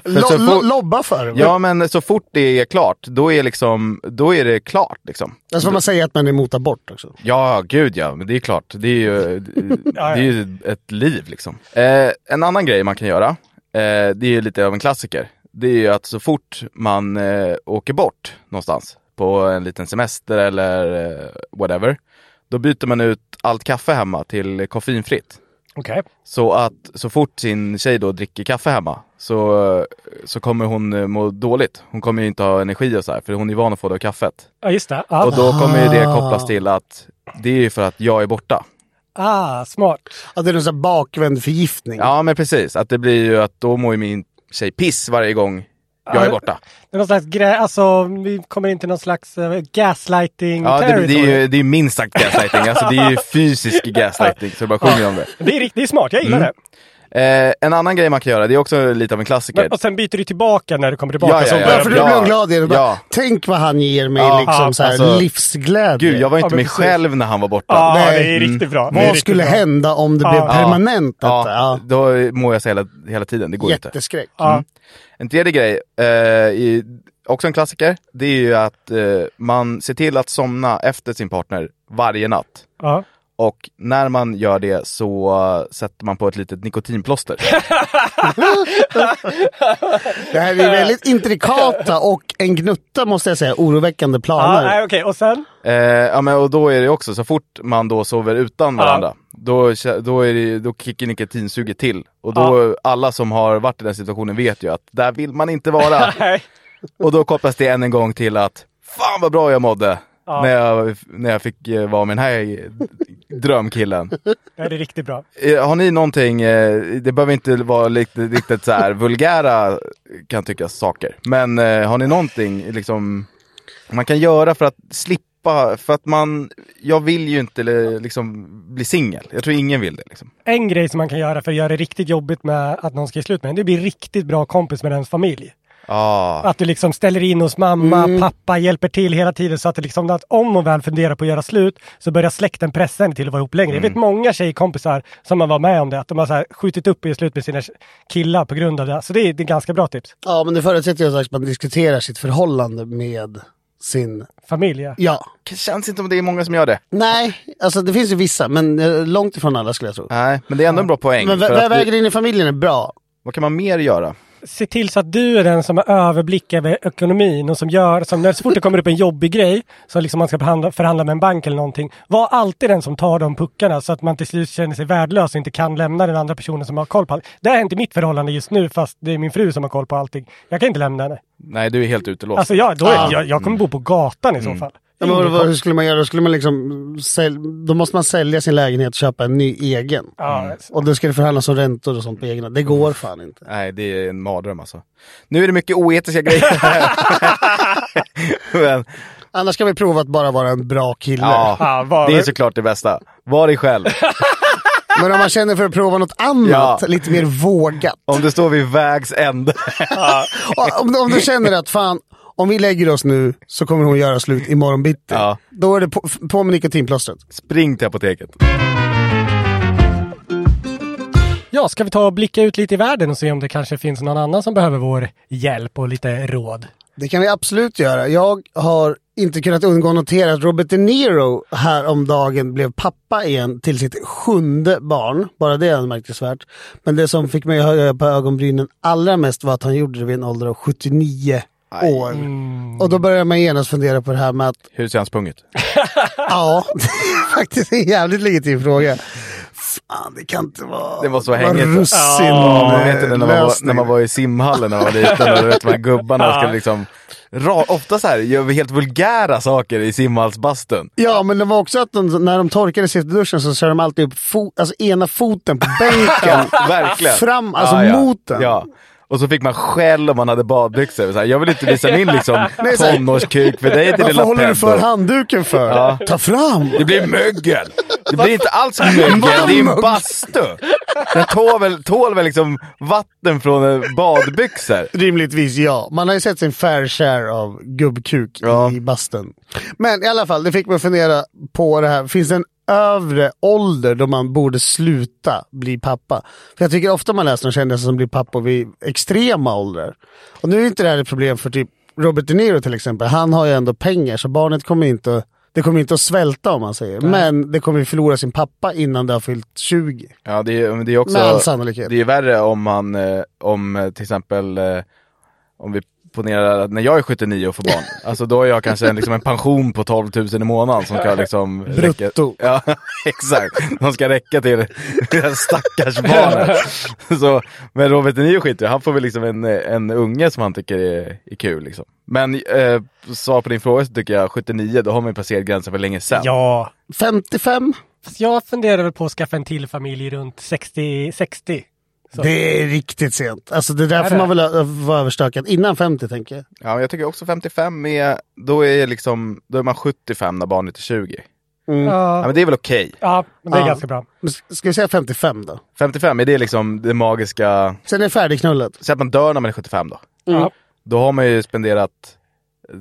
[SPEAKER 2] Lo,
[SPEAKER 1] så
[SPEAKER 2] lo,
[SPEAKER 1] fort-
[SPEAKER 2] lobba för det.
[SPEAKER 1] ja men så fort det är klart, då är, liksom, då är det klart liksom.
[SPEAKER 2] Alltså, man säger att man är emot abort också.
[SPEAKER 1] Ja, gud ja, men det är klart. Det är ju, det
[SPEAKER 3] Ja, ja.
[SPEAKER 1] är ju ett liv liksom. Eh, en annan grej man kan göra, eh, det är ju lite av en klassiker. Det är ju att så fort man eh, åker bort någonstans på en liten semester eller eh, whatever, då byter man ut allt kaffe hemma till koffeinfritt.
[SPEAKER 3] Okej.
[SPEAKER 1] Så att så fort sin tjej då dricker kaffe hemma så, så kommer hon eh, må dåligt. Hon kommer ju inte ha energi och så här, för hon är van att få det av kaffet.
[SPEAKER 3] Ja, just det. Ah. Ja.
[SPEAKER 1] Och då kommer ju det kopplas till att det är ju för att jag är borta.
[SPEAKER 3] Ah, smart.
[SPEAKER 2] Ja, det är en sån här bakvänd förgiftning.
[SPEAKER 1] Ja men precis, att det blir ju att då mår ju min tjej piss varje gång jag är borta.
[SPEAKER 3] Det är någon slags grej, alltså vi kommer in till någon slags eh, gaslighting
[SPEAKER 1] Ja, det,
[SPEAKER 3] territory.
[SPEAKER 1] det är ju det är minst sagt gaslighting, alltså det är ju fysisk gaslighting så det bara sjunger om det.
[SPEAKER 3] det är riktigt smart, jag gillar
[SPEAKER 1] Mm.
[SPEAKER 3] det.
[SPEAKER 1] Eh, en annan grej man kan göra, det är också lite av en klassiker.
[SPEAKER 3] Men, och sen byter du tillbaka när du kommer tillbaka.
[SPEAKER 1] Ja, ja,
[SPEAKER 3] så
[SPEAKER 1] ja.
[SPEAKER 3] börjar
[SPEAKER 2] Ja, för
[SPEAKER 3] du-
[SPEAKER 2] då
[SPEAKER 1] Ja.
[SPEAKER 2] blir hon glad i det. Bara,
[SPEAKER 1] Ja.
[SPEAKER 2] Tänk vad han ger mig
[SPEAKER 1] Ja,
[SPEAKER 2] liksom, så här,
[SPEAKER 1] alltså-
[SPEAKER 2] livsglädje.
[SPEAKER 1] Gud, jag var
[SPEAKER 3] Ja,
[SPEAKER 1] inte
[SPEAKER 3] men
[SPEAKER 1] mig
[SPEAKER 3] precis.
[SPEAKER 1] själv när han var borta.
[SPEAKER 3] Ja,
[SPEAKER 2] Nej.
[SPEAKER 3] det är
[SPEAKER 1] Mm.
[SPEAKER 3] riktigt bra. Det är
[SPEAKER 2] Vad
[SPEAKER 3] riktigt
[SPEAKER 2] skulle
[SPEAKER 3] bra.
[SPEAKER 2] hända om det
[SPEAKER 3] Ja.
[SPEAKER 2] blev
[SPEAKER 3] Ja.
[SPEAKER 2] permanent?
[SPEAKER 1] Ja,
[SPEAKER 2] Detta? Ja.
[SPEAKER 1] Då mår jag så hela, hela tiden, det går inte.
[SPEAKER 2] Jätteskräck.
[SPEAKER 3] Ja.
[SPEAKER 1] En tredje grej, eh, i, också en klassiker, det är ju att eh, man ser till att somna efter sin partner varje natt.
[SPEAKER 3] Ja.
[SPEAKER 1] Och när man gör det så eh, sätter man på ett litet nikotinplåster.
[SPEAKER 2] Det här är väldigt intrikata och en gnutta måste jag säga oroväckande
[SPEAKER 3] Ja,
[SPEAKER 2] planer.
[SPEAKER 3] Ah, nej, okej. Och sen?
[SPEAKER 1] eh, ja, men, och då är det också, så fort man då sover utan
[SPEAKER 3] Ja.
[SPEAKER 1] varandra, då, kä- då, är det, då kickar nikotinsuget till. Och då, alla som har varit i den situationen vet ju att där vill man inte vara.
[SPEAKER 3] Nej.
[SPEAKER 1] och då kopplas det än en gång till att, fan vad bra jag mådde.
[SPEAKER 3] Ja.
[SPEAKER 1] När, jag, när jag fick eh, vara med den här eh, drömkillen.
[SPEAKER 3] Nej, det är riktigt bra.
[SPEAKER 1] Eh, Har ni någonting, eh, det behöver inte vara riktigt, riktigt så här vulgära kan tyckas saker, men eh, har ni någonting liksom, man kan göra för att slippa, för att man, jag vill ju inte eh, liksom bli singel, jag tror ingen vill det. Liksom.
[SPEAKER 3] En grej som man kan göra för att göra det riktigt jobbigt med att någon ska ge slut med en, det blir riktigt bra kompis med ens familj.
[SPEAKER 1] Ah.
[SPEAKER 3] Att du liksom ställer in hos mamma, pappa, hjälper till hela tiden så att, det liksom, att om hon väl funderar på att göra slut så börjar släkten pressa henne till att vara ihop längre. Jag vet många tjejkompisar som har varit med om det, att de har så här skjutit upp och gjort slut med sina killar på grund av det. Så det är, det är ganska bra tips.
[SPEAKER 2] Ja, men det förutsätter ju att man diskuterar sitt förhållande med sin...
[SPEAKER 3] Familj, ja.
[SPEAKER 2] Ja.
[SPEAKER 1] Känns inte om det är många som gör det.
[SPEAKER 2] Nej, alltså det finns ju vissa, men eh, långt ifrån alla skulle jag tro.
[SPEAKER 1] Nej, men det är ändå en bra poäng.
[SPEAKER 2] Men
[SPEAKER 1] för
[SPEAKER 2] vä-
[SPEAKER 1] att det-
[SPEAKER 2] vägen in i familjen är bra.
[SPEAKER 1] vad kan man mer göra?
[SPEAKER 3] se till så att du är den som har överblick över ekonomin och som gör, som när så fort det kommer upp en jobbig grej, som liksom man ska förhandla, förhandla med en bank eller någonting, var alltid den som tar de puckarna så att man till slut känner sig värdelös och inte kan lämna den andra personen som har koll på allt. Det här är inte mitt förhållande just nu fast det är min fru som har koll på allting. Jag kan inte lämna henne.
[SPEAKER 1] Nej, du är helt utelåst.
[SPEAKER 3] Alltså jag, då är,
[SPEAKER 2] Ah.
[SPEAKER 3] jag, jag kommer bo på gatan i så fall.
[SPEAKER 2] Mm. Ja, men
[SPEAKER 3] Mm.
[SPEAKER 2] vad, hur skulle man göra? Då, skulle man liksom sälj... då måste man sälja sin lägenhet och köpa en ny egen.
[SPEAKER 3] Ja, alltså.
[SPEAKER 2] Och då ska det förhandlas om räntor och sånt på egna. Det går fan inte.
[SPEAKER 1] Nej, det är en mardröm alltså. Nu är det mycket oetiska grejer. Men,
[SPEAKER 2] Annars ska vi prova att bara vara en bra kille.
[SPEAKER 3] Ja,
[SPEAKER 1] ja,
[SPEAKER 3] var-
[SPEAKER 1] det är såklart det bästa. Var dig själv.
[SPEAKER 2] Men om man känner för att prova något annat,
[SPEAKER 1] Ja.
[SPEAKER 2] lite mer vågat.
[SPEAKER 1] Om du står vid vägs ände.
[SPEAKER 2] Och Om, om du känner att fan, om vi lägger oss nu så kommer hon göra slut imorgon bitti.
[SPEAKER 1] Ja.
[SPEAKER 2] Då är det på, på med nikotinplåstret.
[SPEAKER 1] Spring till apoteket.
[SPEAKER 3] ja, ska vi ta och blicka ut lite i världen och se om det kanske finns någon annan som behöver vår hjälp och lite råd?
[SPEAKER 2] Det kan vi absolut göra. Jag har inte kunnat undgå att notera att Robert De Niro häromdagen blev pappa igen till sitt sjunde barn. Bara det är anmärkningsvärt. Men det som fick mig att höja på ögonbrynen allra mest var att han gjorde det vid en ålder av 79 år.
[SPEAKER 1] Mm.
[SPEAKER 2] Och då börjar man genast fundera på det här med att
[SPEAKER 1] Hur ser han sprungit?
[SPEAKER 2] Ja, det är faktiskt en jävligt legitim fråga. Fan, det kan inte vara...
[SPEAKER 1] Det måste vara
[SPEAKER 2] vara
[SPEAKER 1] hänget.
[SPEAKER 2] russin,
[SPEAKER 1] Ja,
[SPEAKER 2] eh,
[SPEAKER 1] vet du, när, man var,
[SPEAKER 2] lösning.
[SPEAKER 1] när man var i simhallen när man var liten och du vet, de här gubbarna skulle liksom... Ra, ofta så här, gör vi helt vulgära saker i simhallsbastun.
[SPEAKER 2] Ja, men det var också att de, när de torkade sig efter duschen så körde de alltid upp fo- alltså, ena foten på bänken.
[SPEAKER 1] Verkligen.
[SPEAKER 2] Fram, alltså mot den.
[SPEAKER 1] Ja. Och så fick man skäll om man hade badbyxor. Så här, jag vill inte visa min liksom,
[SPEAKER 2] Nej, så här-
[SPEAKER 1] tonårskuk för dig din
[SPEAKER 2] Varför
[SPEAKER 1] lilla
[SPEAKER 2] håller du för
[SPEAKER 1] peddo.
[SPEAKER 2] handduken för?
[SPEAKER 1] Ja.
[SPEAKER 2] Ta fram!
[SPEAKER 1] Det blir mögel! Det blir inte alls mögel, det är en bastu! Den tål väl, tål väl liksom vatten från eh, badbyxor?
[SPEAKER 2] Rimligtvis ja. Man har ju sett sin fair share av gubbkuk
[SPEAKER 1] Ja.
[SPEAKER 2] i basten. Men i alla fall, det fick mig att fundera på det här. Finns det en övre ålder då man borde sluta bli pappa? För jag tycker ofta man läser om kändisar som blir pappa vid extrema åldrar. Och nu är inte det här ett problem för typ Robert De Niro till exempel. Han har ju ändå pengar så barnet kommer inte det kommer inte att svälta om man säger, men det kommer ju förlora sin pappa innan det har fyllt 20.
[SPEAKER 1] Ja, det är, men det är också...
[SPEAKER 2] Med all sannolikhet.
[SPEAKER 1] Det är värre om man, eh, om eh, till exempel, eh, om vi ponerar att när jag är 79 och får barn, alltså då har jag kanske en, liksom en pension på 12 000 i månaden som ska liksom... räcka-
[SPEAKER 2] Brutto.
[SPEAKER 1] Ja, exakt. De ska räcka till det här stackars barnet. Så, men Robert De Niro skiter i det. han får väl liksom en, eh, en unge som han tycker är, är kul liksom. Men eh, svar på din fråga så tycker jag 79, då har man ju passerat gränsen för länge sedan.
[SPEAKER 3] Ja,
[SPEAKER 2] 55?
[SPEAKER 3] fast jag funderar väl på att skaffa en till familj runt 60. 60. Så.
[SPEAKER 2] Det är riktigt sent. Alltså det där
[SPEAKER 3] Är
[SPEAKER 2] får
[SPEAKER 3] det?
[SPEAKER 2] man väl ö- vara överstökad innan 50 tänker jag.
[SPEAKER 1] Ja, men jag tycker också 55 är, då är liksom, då är man 75 när barnet är 20. Ja,
[SPEAKER 3] Ja,
[SPEAKER 1] men det är väl okej.
[SPEAKER 3] ja, men det är
[SPEAKER 2] Ja.
[SPEAKER 3] ganska bra.
[SPEAKER 2] Men s- Ska vi säga 55 då?
[SPEAKER 1] 55, är det liksom det magiska,
[SPEAKER 2] Sen är det färdigknullat.
[SPEAKER 1] säg att man dör när man är 75 då.
[SPEAKER 3] Ja.
[SPEAKER 1] Då har man ju spenderat,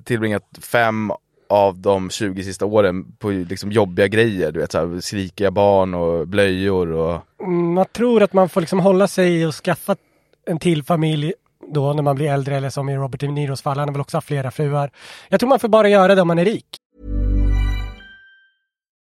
[SPEAKER 1] tillbringat fem av de 20 sista åren på ju liksom jobbiga grejer. Du vet så här, skrikiga barn och blöjor och...
[SPEAKER 3] Mm, Man tror att man får liksom hålla sig och skaffa en till familj då när man blir äldre eller som i Robert De Niros fall, han har väl också haft flera fruar. Jag tror man får bara göra det om man är rik.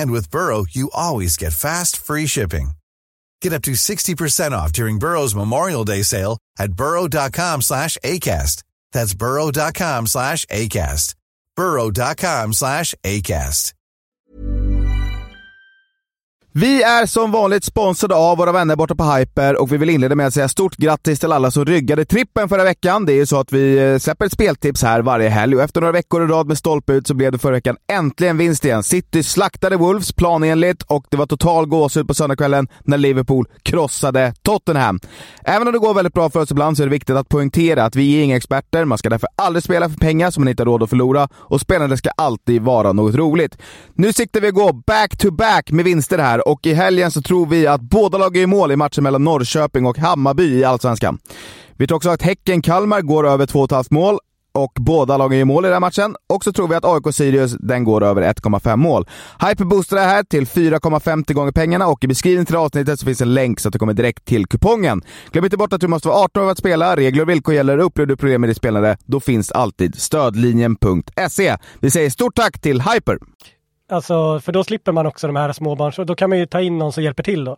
[SPEAKER 4] And with Burrow, you always get fast, free shipping. Get up to 60% off during Burrow's Memorial Day sale at burrow.com slash ACAST. That's burrow.com slash ACAST. burrow.com slash ACAST.
[SPEAKER 5] Vi är som vanligt sponsrade av våra vänner borta på Hyper och vi vill inleda med att säga stort grattis till alla som ryggade trippen förra veckan. Det är ju så att vi eh, släpper ett speltips här varje helg och efter några veckor i rad med stolpe ut så blev det förra veckan äntligen vinst igen. City slaktade Wolves planenligt och det var total gåshud på söndagskvällen när Liverpool krossade Tottenham. Även om det går väldigt bra för oss ibland så är det viktigt att poängtera att vi är inga experter. Man ska därför aldrig spela för pengar som man inte har råd att förlora och spelandet ska alltid vara något roligt. Nu siktar vi att gå back-to-back med vinster här och i helgen så tror vi att båda lag är i mål i matchen mellan Norrköping och Hammarby i Allsvenskan. Vi tror också att Häcken-Kalmar går över 2,5 mål. och båda lagen gör mål i den här matchen. Och så tror vi att AIK-Sirius, den går över 1,5 mål. Hyper boostar det här till 4,50 gånger pengarna och i beskrivningen till det här avsnittet så finns en länk så att du kommer direkt till kupongen. Glöm inte bort att du måste vara 18 år för att spela. Regler och villkor gäller. Upplever du problem med din spelare, då finns alltid stödlinjen.se. E. Vi säger stort tack till Hyper!
[SPEAKER 3] Alltså, för då slipper man också de här småbarns... och Då kan man ju ta in någon som hjälper till då.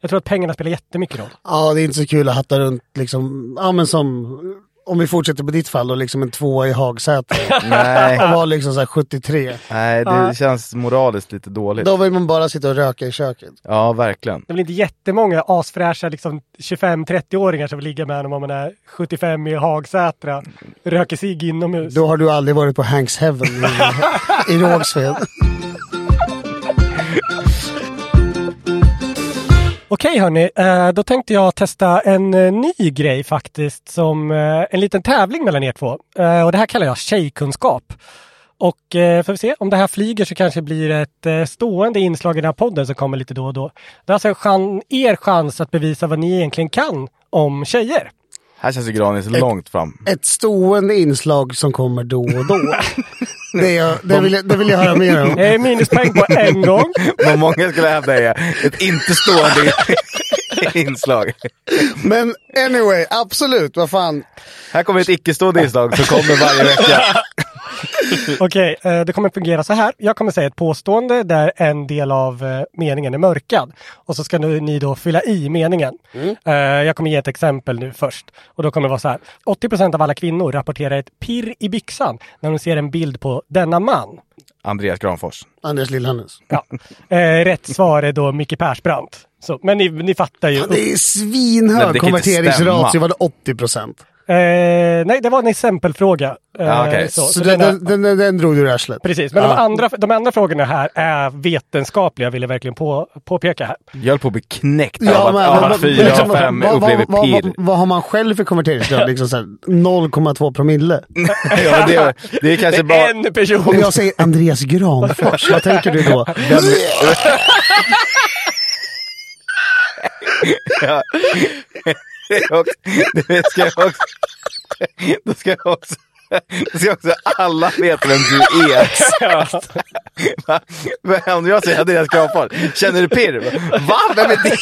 [SPEAKER 3] Jag tror att pengarna spelar jättemycket roll.
[SPEAKER 2] Ja, det är inte så kul att hatta runt liksom, ja men som, om vi fortsätter på ditt fall då, liksom en tvåa i Hagsätra.
[SPEAKER 1] Nej.
[SPEAKER 2] Och var liksom så här 73.
[SPEAKER 1] Nej, det känns moraliskt lite dåligt.
[SPEAKER 2] Då vill man bara sitta och röka i köket.
[SPEAKER 1] Ja, verkligen.
[SPEAKER 3] Det är väl inte jättemånga asfräscha liksom 25-30-åringar som vill ligga med honom om man är 75 i Hagsätra, röker sig inomhus.
[SPEAKER 2] Då har du aldrig varit på Hanks Heaven i, i Rågsved.
[SPEAKER 3] Okej hörni, eh, då tänkte jag testa en eh, ny grej faktiskt som eh, en liten tävling mellan er två. Eh, Och det här kallar jag tjejkunskap. Och eh, får vi se, om det här flyger så kanske det blir ett eh, stående inslag i den här podden som kommer lite då och då. Det är alltså en chan- er chans att bevisa vad ni egentligen kan om tjejer.
[SPEAKER 1] Här känns ju Granis långt fram.
[SPEAKER 2] Ett stående inslag som kommer då och då. Det, är jag, det, vill, jag- det vill jag höra mer om.
[SPEAKER 3] Det är Eh, minuspoäng på en gång.
[SPEAKER 1] Vad många skulle hävda är ett inte stående inslag.
[SPEAKER 2] Men anyway, absolut, vad fan.
[SPEAKER 1] Här kommer ett icke-stående inslag som kommer varje vecka.
[SPEAKER 3] Okej, eh, det kommer fungera så här. Jag kommer säga ett påstående där en del av eh, meningen är mörkad. Och så ska nu, ni då fylla i meningen. Eh, jag kommer ge ett exempel nu först. Och då kommer det vara så här. 80 av alla kvinnor rapporterar ett pirr i byxan när de ser en bild på denna man.
[SPEAKER 1] Andreas Granfors.
[SPEAKER 2] Anders Lill-Hannes.
[SPEAKER 3] Ja. Eh, rätt svar är då Micke Persbrandt. Så, men ni, ni fattar ju.
[SPEAKER 2] Det är
[SPEAKER 1] Men det
[SPEAKER 2] svinhög
[SPEAKER 1] kan inte
[SPEAKER 2] konverteringsratio,
[SPEAKER 1] stämma.
[SPEAKER 2] var det 80 procent?
[SPEAKER 3] Eh, nej, det var en exempelfråga. Eh,
[SPEAKER 1] Ja, okej.
[SPEAKER 3] så, så
[SPEAKER 2] Så den,
[SPEAKER 3] den är-
[SPEAKER 2] den, den, den, drog du i arslet?
[SPEAKER 3] Precis, men de, andra, de andra frågorna här är vetenskapliga, vill jag verkligen på, påpeka här.
[SPEAKER 1] Jag höll på att bli knäckt
[SPEAKER 2] Ja,
[SPEAKER 1] av
[SPEAKER 2] men-
[SPEAKER 1] att, av
[SPEAKER 2] men-
[SPEAKER 1] att fyra
[SPEAKER 2] liksom,
[SPEAKER 1] av fem
[SPEAKER 2] vad- vad-
[SPEAKER 1] upplever
[SPEAKER 2] vad-
[SPEAKER 1] pirr.
[SPEAKER 2] Vad, vad har man själv för konverteringsgrad? Liksom så här 0,2 promille?
[SPEAKER 1] Ja, men det, det är kanske bara...
[SPEAKER 3] En person!
[SPEAKER 2] Om jag säger Andreas Granfors, vad tänker du då?
[SPEAKER 1] Ja. Och- det ska jag också... Då ska jag också... Då ska också alla veta vem du är. Va? Men om jag säger Andreas Granfors, känner du pirr? Va? Vem är det?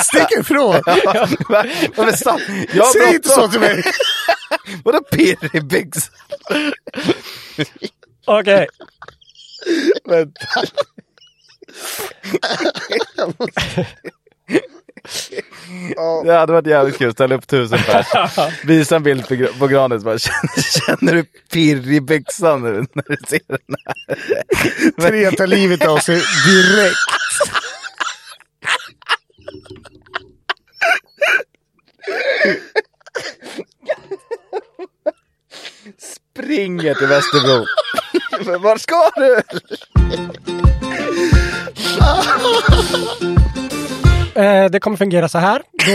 [SPEAKER 2] Stick ifrån!
[SPEAKER 1] Va? Va? Men sant, jag
[SPEAKER 2] Säg
[SPEAKER 1] har
[SPEAKER 2] inte så
[SPEAKER 1] bråttom.
[SPEAKER 2] till mig!
[SPEAKER 1] Vadå pirr i byxan?
[SPEAKER 3] Okej,
[SPEAKER 1] Vänta. Det hade varit jävligt kul. Ställa upp tusen pers. Visa en bild på, Gra- på Granis. Bara, känner, känner du pirr i byxan nu när du ser den här?
[SPEAKER 2] Tre tar livet av sig direkt.
[SPEAKER 1] Springer till Västerbro. Men var ska du?
[SPEAKER 3] eh, det kommer fungera så här. Då,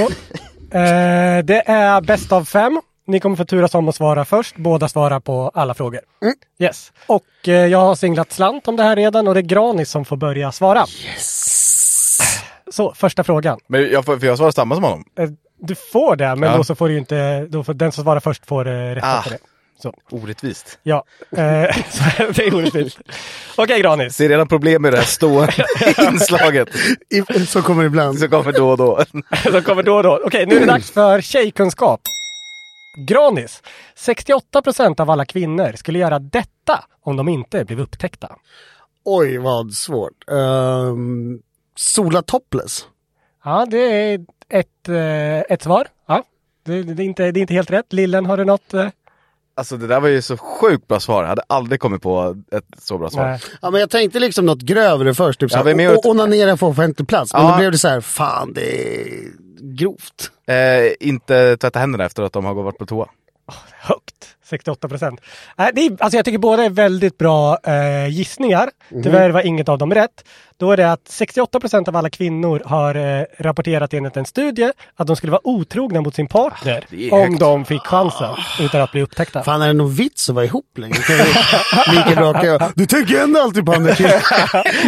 [SPEAKER 3] eh, det är bäst av fem. Ni kommer få turas om att svara först. Båda svarar på alla frågor. Yes. Och eh, jag har singlat slant om det här redan och det är Granis som får börja svara. Yes. Så, första frågan.
[SPEAKER 1] Men jag får, för jag svarar samma som honom.
[SPEAKER 3] Eh, du får det, men
[SPEAKER 1] Ja.
[SPEAKER 3] då så får du ju inte... Då får, den som svarar först får eh, rätta
[SPEAKER 1] Ah.
[SPEAKER 3] på det. Så.
[SPEAKER 1] Orättvist.
[SPEAKER 3] Ja, eh, så det är orättvist. Okej Granis,
[SPEAKER 1] Ser redan problem med det här stående inslaget
[SPEAKER 2] I- Så kommer det ibland.
[SPEAKER 1] som kommer då och då.
[SPEAKER 3] som kommer då och då. Okej, nu är det dags för tjejkunskap. Granis, 68 procent av alla kvinnor skulle göra detta om de inte blev upptäckta.
[SPEAKER 2] Oj, vad svårt. Ehm, sola topless.
[SPEAKER 3] Ja, det är ett, eh, ett svar. Ja, det, det, är inte, det är inte helt rätt. Lillen, har du något? eh?
[SPEAKER 1] Alltså det där var ju så sjukt bra svar. Jag hade aldrig kommit på ett så bra svar.
[SPEAKER 3] Nej.
[SPEAKER 2] Ja, men jag tänkte liksom något grövre först. Typ
[SPEAKER 1] Ja,
[SPEAKER 2] ja,
[SPEAKER 1] vi är med
[SPEAKER 2] och,
[SPEAKER 1] ut-
[SPEAKER 2] onanera på offentlig plats. Men
[SPEAKER 1] Ja.
[SPEAKER 2] då blev det så här, fan det är grovt.
[SPEAKER 1] Eh, inte tvätta händerna efter att de har varit på toa.
[SPEAKER 3] Högt, 68 procent. det är, alltså jag tycker båda är väldigt bra eh, gissningar.
[SPEAKER 1] Mhm.
[SPEAKER 3] Tyvärr var inget av dem rätt. Då är det att 68 procent av alla kvinnor har eh, rapporterat enligt en studie att de skulle vara otrogna mot sin partner
[SPEAKER 1] det är
[SPEAKER 3] om
[SPEAKER 1] högt. Ah.
[SPEAKER 3] de fick chansen utan att bli upptäckta.
[SPEAKER 2] Fan är det någon vits att vara ihop längre? Kan vi- Lika bra kan jag. Du tänker ändå alltid på Anders.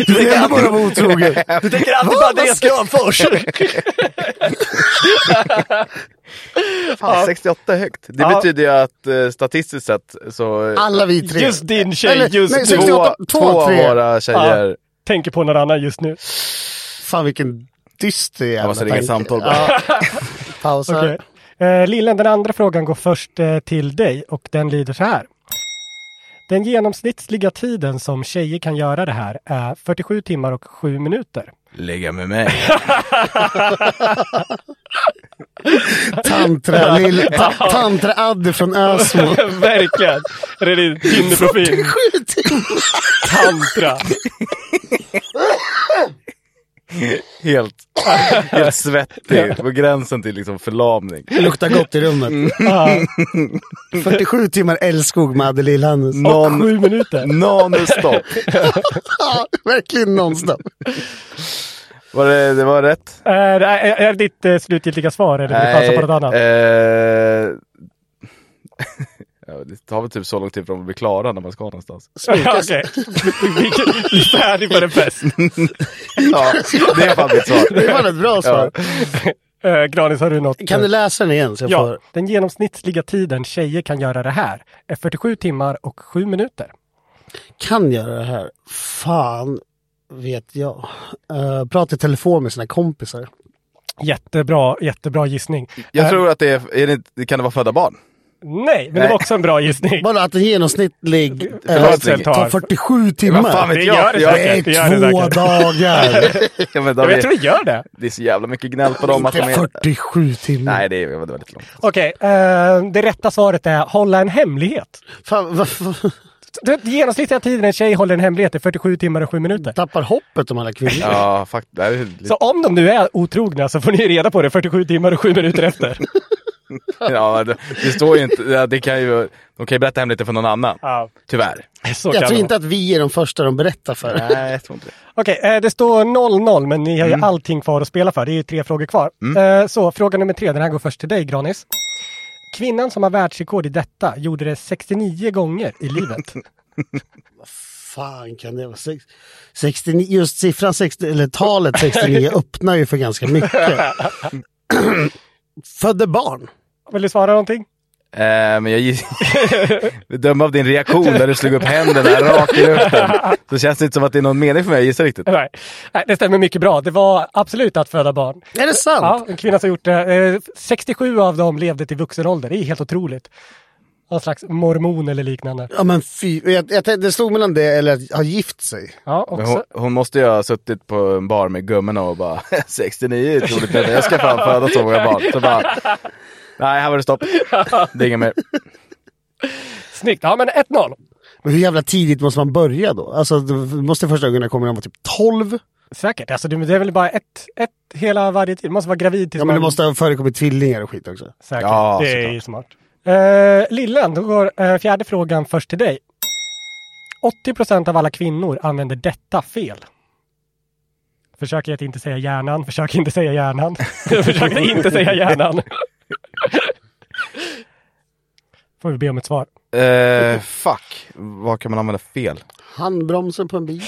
[SPEAKER 2] Du vill ändå bara vara otrogen.
[SPEAKER 3] Du tänker alltid på Andreas Granfors!
[SPEAKER 1] Fan, 68 är högt. Det
[SPEAKER 3] Ja.
[SPEAKER 1] betyder ju att eh, statistiskt sett så...
[SPEAKER 2] Alla vi tre.
[SPEAKER 3] Just din tjej
[SPEAKER 2] Eller,
[SPEAKER 3] just
[SPEAKER 2] nej,
[SPEAKER 3] nu.
[SPEAKER 2] 68,
[SPEAKER 1] två, två av
[SPEAKER 2] tre.
[SPEAKER 1] våra tjejer.
[SPEAKER 3] Ja, tänker på någon annan just nu.
[SPEAKER 2] Fan vilken dyster jävla
[SPEAKER 1] Jag måste ringa
[SPEAKER 2] tanke.
[SPEAKER 1] samtal bara.
[SPEAKER 2] Ja. Pausar.
[SPEAKER 3] Okej. Eh, Lillen, den andra frågan går först eh, till dig och den lyder så här. Den genomsnittliga tiden som tjejer kan göra det här är 47 timmar och 7 minuter.
[SPEAKER 1] Lägga med mig.
[SPEAKER 2] Tantra, lill, ta, tantra Adde från Ösmo.
[SPEAKER 3] Verkligen! Är det din Tinder-profil? Tantra!
[SPEAKER 1] Helt, helt svettig, på gränsen till liksom förlamning.
[SPEAKER 2] Det luktar gott i rummet.
[SPEAKER 3] Ja,
[SPEAKER 2] 47 timmar älskog med Adde Lill-Hannes.
[SPEAKER 3] och 7 minuter.
[SPEAKER 1] Non-stop.
[SPEAKER 2] Ja, verkligen nonstop.
[SPEAKER 1] Var det, det var rätt?
[SPEAKER 3] Eh, Är, är, är ditt eh, slutgiltiga svar eller vill du chansa på något annat?
[SPEAKER 1] Eh, ja, det tar väl typ så lång tid för dem att bli klara när man ska någonstans.
[SPEAKER 2] eh,
[SPEAKER 3] Ja, Okej, vi är färdig för en fest.
[SPEAKER 1] Ja, det är fan mitt svar.
[SPEAKER 2] Det var ett bra svar.
[SPEAKER 3] Eh, Granis, har du något?
[SPEAKER 2] Kan du läsa den igen? Så jag
[SPEAKER 3] Ja,
[SPEAKER 2] får...
[SPEAKER 3] den genomsnittliga tiden tjejer kan göra det här är 47 timmar och 7 minuter.
[SPEAKER 2] Kan göra det här? Fan vet jag. Uh, prata i telefon med sina kompisar.
[SPEAKER 3] Jättebra, jättebra gissning.
[SPEAKER 1] Jag tror att det är, är det, inte- det kan det vara födda barn?
[SPEAKER 3] Nej, men det var
[SPEAKER 1] Nej.
[SPEAKER 3] också en bra gissning.
[SPEAKER 2] Bara att en genomsnittlig eh,
[SPEAKER 1] Förlossning.
[SPEAKER 2] tar 47 timmar.
[SPEAKER 1] Vad fan vet
[SPEAKER 3] Det
[SPEAKER 1] jag?
[SPEAKER 3] gör det
[SPEAKER 1] jag,
[SPEAKER 3] säkert.
[SPEAKER 2] det är
[SPEAKER 3] gör det
[SPEAKER 2] två
[SPEAKER 3] säkert.
[SPEAKER 2] dagar.
[SPEAKER 1] Ja, men
[SPEAKER 3] Ja,
[SPEAKER 1] de
[SPEAKER 3] men Jag tror
[SPEAKER 1] är,
[SPEAKER 3] vi gör det.
[SPEAKER 1] det är så jävla mycket gnäll på dem att de
[SPEAKER 2] Inte
[SPEAKER 1] är...
[SPEAKER 2] 47 timmar.
[SPEAKER 1] Nej, det är det var väldigt långt.
[SPEAKER 3] Okej, eh, det rätta svaret är hålla en hemlighet.
[SPEAKER 2] Fan, varför
[SPEAKER 3] Den genomsnittliga tiden en tjej håller en hemlighet är 47 timmar och 7 minuter.
[SPEAKER 2] tappar hoppet om alla kvinnor?
[SPEAKER 1] Ja, faktiskt. Det här är lite-
[SPEAKER 3] Så om de nu är otrogna så får ni reda på det 47 timmar och 7 minuter efter.
[SPEAKER 1] Ja, det, det står ju inte... ja, Det kan ju, de kan ju berätta hemligt för någon annan.
[SPEAKER 3] Ja,
[SPEAKER 1] Tyvärr.
[SPEAKER 3] så kan
[SPEAKER 2] jag tror
[SPEAKER 3] det
[SPEAKER 2] inte att vi är de första de berättar för.
[SPEAKER 1] Nej, jag tror inte det.
[SPEAKER 3] Okej, eh, det står 0-0 men ni har
[SPEAKER 2] Mm.
[SPEAKER 3] ju allting kvar att spela för. Det är ju tre frågor kvar. Eh, Så fråga nummer tre, den här går först till dig Granis. Kvinnan som har världsrekord i detta gjorde det 69 gånger i livet.
[SPEAKER 2] Fan kan det vara? Sex, 69, just siffran 60, eller talet 69 öppnar ju för ganska mycket. Födde barn.
[SPEAKER 3] Vill du svara någonting?
[SPEAKER 1] Eh, men jag giss... Döm av din reaktion när du slog upp händerna rakt i luften. Så känns det inte som att det är någon mening för mig att gissa riktigt.
[SPEAKER 3] Nej. Nej, det stämmer mycket bra. Det var absolut att föda barn.
[SPEAKER 2] Är det sant?
[SPEAKER 3] Ja, en kvinna som gjort det. eh, 67 av dem levde till vuxen ålder. Det är helt otroligt. Någon slags mormon eller liknande.
[SPEAKER 2] Ja men fy, jag, jag, tänkte- det stod mellan det eller att ha gift sig.
[SPEAKER 3] Ja,
[SPEAKER 1] Men hon,
[SPEAKER 3] också.
[SPEAKER 1] hon måste ju ha suttit på en bar med gummorna och bara 69 är troligt men jag ska fan föda så många barn. Så bara, nej här var det stopp. Det är inget mer.
[SPEAKER 3] Snyggt. Ja, men 1-0.
[SPEAKER 2] Men hur jävla tidigt måste man börja då? Alltså det måste första gången komma när man var typ 12.
[SPEAKER 3] Säkert. Alltså, det det är väl bara ett, ett hela varje tid. Du måste vara gravid tills
[SPEAKER 2] Ja men
[SPEAKER 3] man...
[SPEAKER 2] det måste ha förekommit tvillingar och skit också.
[SPEAKER 3] Säkert.
[SPEAKER 1] Ja,
[SPEAKER 3] det är
[SPEAKER 1] såklart.
[SPEAKER 3] ju smart. Eh, Lillen, då går eh, fjärde frågan först till dig. 80 procent av alla kvinnor använder detta fel. Försök att inte säga hjärnan, försök inte säga hjärnan. försök att inte säga hjärnan. Får vi be om ett svar.
[SPEAKER 1] Eh, fuck, vad kan man använda fel?
[SPEAKER 2] Handbromsen på en bil.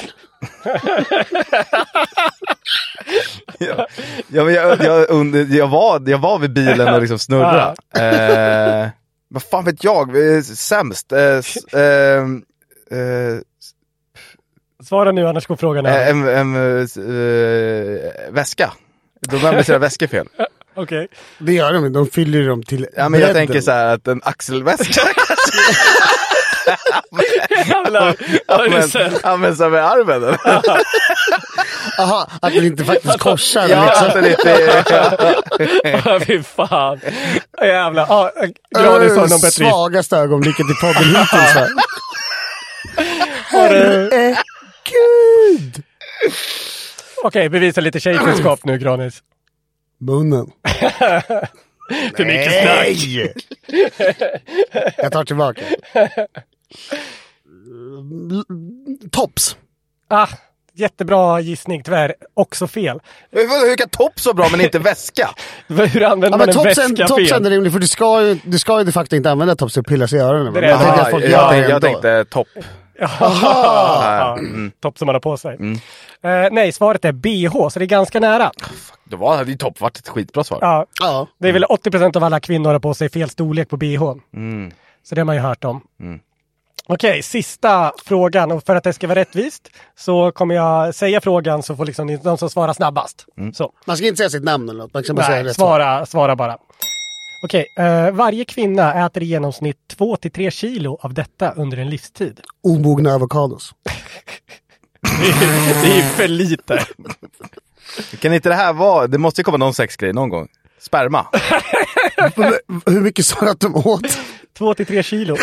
[SPEAKER 1] Ja, men jag, jag, und- jag, var, jag var vid bilen och liksom snurrade. Eh, vad fan vet jag? Eh, Sämst. Eh, s- ehm, eh,
[SPEAKER 3] Svara nu annars går frågan över.
[SPEAKER 1] Eh, En, en eh, s- eh, väska. De använder sina väskor fel.
[SPEAKER 3] Okej.
[SPEAKER 2] Det gör de inte, de fyller ju dem till
[SPEAKER 1] Ja, men jag
[SPEAKER 2] bredden.
[SPEAKER 1] tänker så här att en axelväska
[SPEAKER 3] Jävlar! Har du
[SPEAKER 1] används,
[SPEAKER 3] sett?
[SPEAKER 1] används av armen. eller?
[SPEAKER 2] Aha, att den inte faktiskt korsar.
[SPEAKER 1] Ja,
[SPEAKER 2] liksom.
[SPEAKER 1] att den inte- ja.
[SPEAKER 3] Ja, Fy fan. Jävlar. Ja, eh,
[SPEAKER 1] Eh,
[SPEAKER 3] Granis har någon bättre gissning.
[SPEAKER 2] Svagaste ögonblicket i podden hittills. va? Gud!
[SPEAKER 3] Okej, bevisa lite tjejkunskap nu Granis.
[SPEAKER 2] Munnen.
[SPEAKER 3] För mycket snack.
[SPEAKER 2] Jag tar tillbaka. L- Tops.
[SPEAKER 3] Ah, jättebra gissning, tyvärr. Också fel.
[SPEAKER 1] Men vadå, Hur kan topp så bra men inte väska?
[SPEAKER 3] Hur
[SPEAKER 2] Ja,
[SPEAKER 3] använder
[SPEAKER 2] men
[SPEAKER 3] man en
[SPEAKER 2] topsen,
[SPEAKER 3] väska
[SPEAKER 2] topsen är
[SPEAKER 3] fel?
[SPEAKER 2] rimlig för du ska ju, du ska ju de facto inte använda tops för att pilla sig i öronen. va?
[SPEAKER 3] Det är det.
[SPEAKER 2] Men tänker
[SPEAKER 1] Aha,
[SPEAKER 2] att folk gör
[SPEAKER 1] jag,
[SPEAKER 2] det
[SPEAKER 1] tänkte, jag
[SPEAKER 2] ändå.
[SPEAKER 1] tänkte topp.
[SPEAKER 3] Ja, mm. topp som man har på sig.
[SPEAKER 2] Mm.
[SPEAKER 3] Eh, nej, svaret är BH, så det är ganska nära.
[SPEAKER 1] Det var hade ju topp varit ett skitbra svar.
[SPEAKER 3] Ja,
[SPEAKER 2] Ja. Mm.
[SPEAKER 3] det är väl 80 av alla kvinnor har på sig fel storlek på BH. Så det har man ju hört om. Okej, sista frågan. Och för att det ska vara rättvist så kommer jag säga frågan så får liksom ni- de som svarar snabbast. Så.
[SPEAKER 2] Man ska inte säga sitt namn eller något. Man ska bara säga
[SPEAKER 3] Nej,
[SPEAKER 2] rätt svar.
[SPEAKER 3] svara, svara bara. Okej, eh, varje kvinna äter i genomsnitt 2-3 kilo av detta under en livstid.
[SPEAKER 2] Omogna avokados.
[SPEAKER 3] Det är för lite.
[SPEAKER 1] Kan inte det här vara, det måste ju komma någon sexgrej någon gång. Sperma.
[SPEAKER 2] Hur mycket sa du att de åt?
[SPEAKER 3] 2-3 kilo.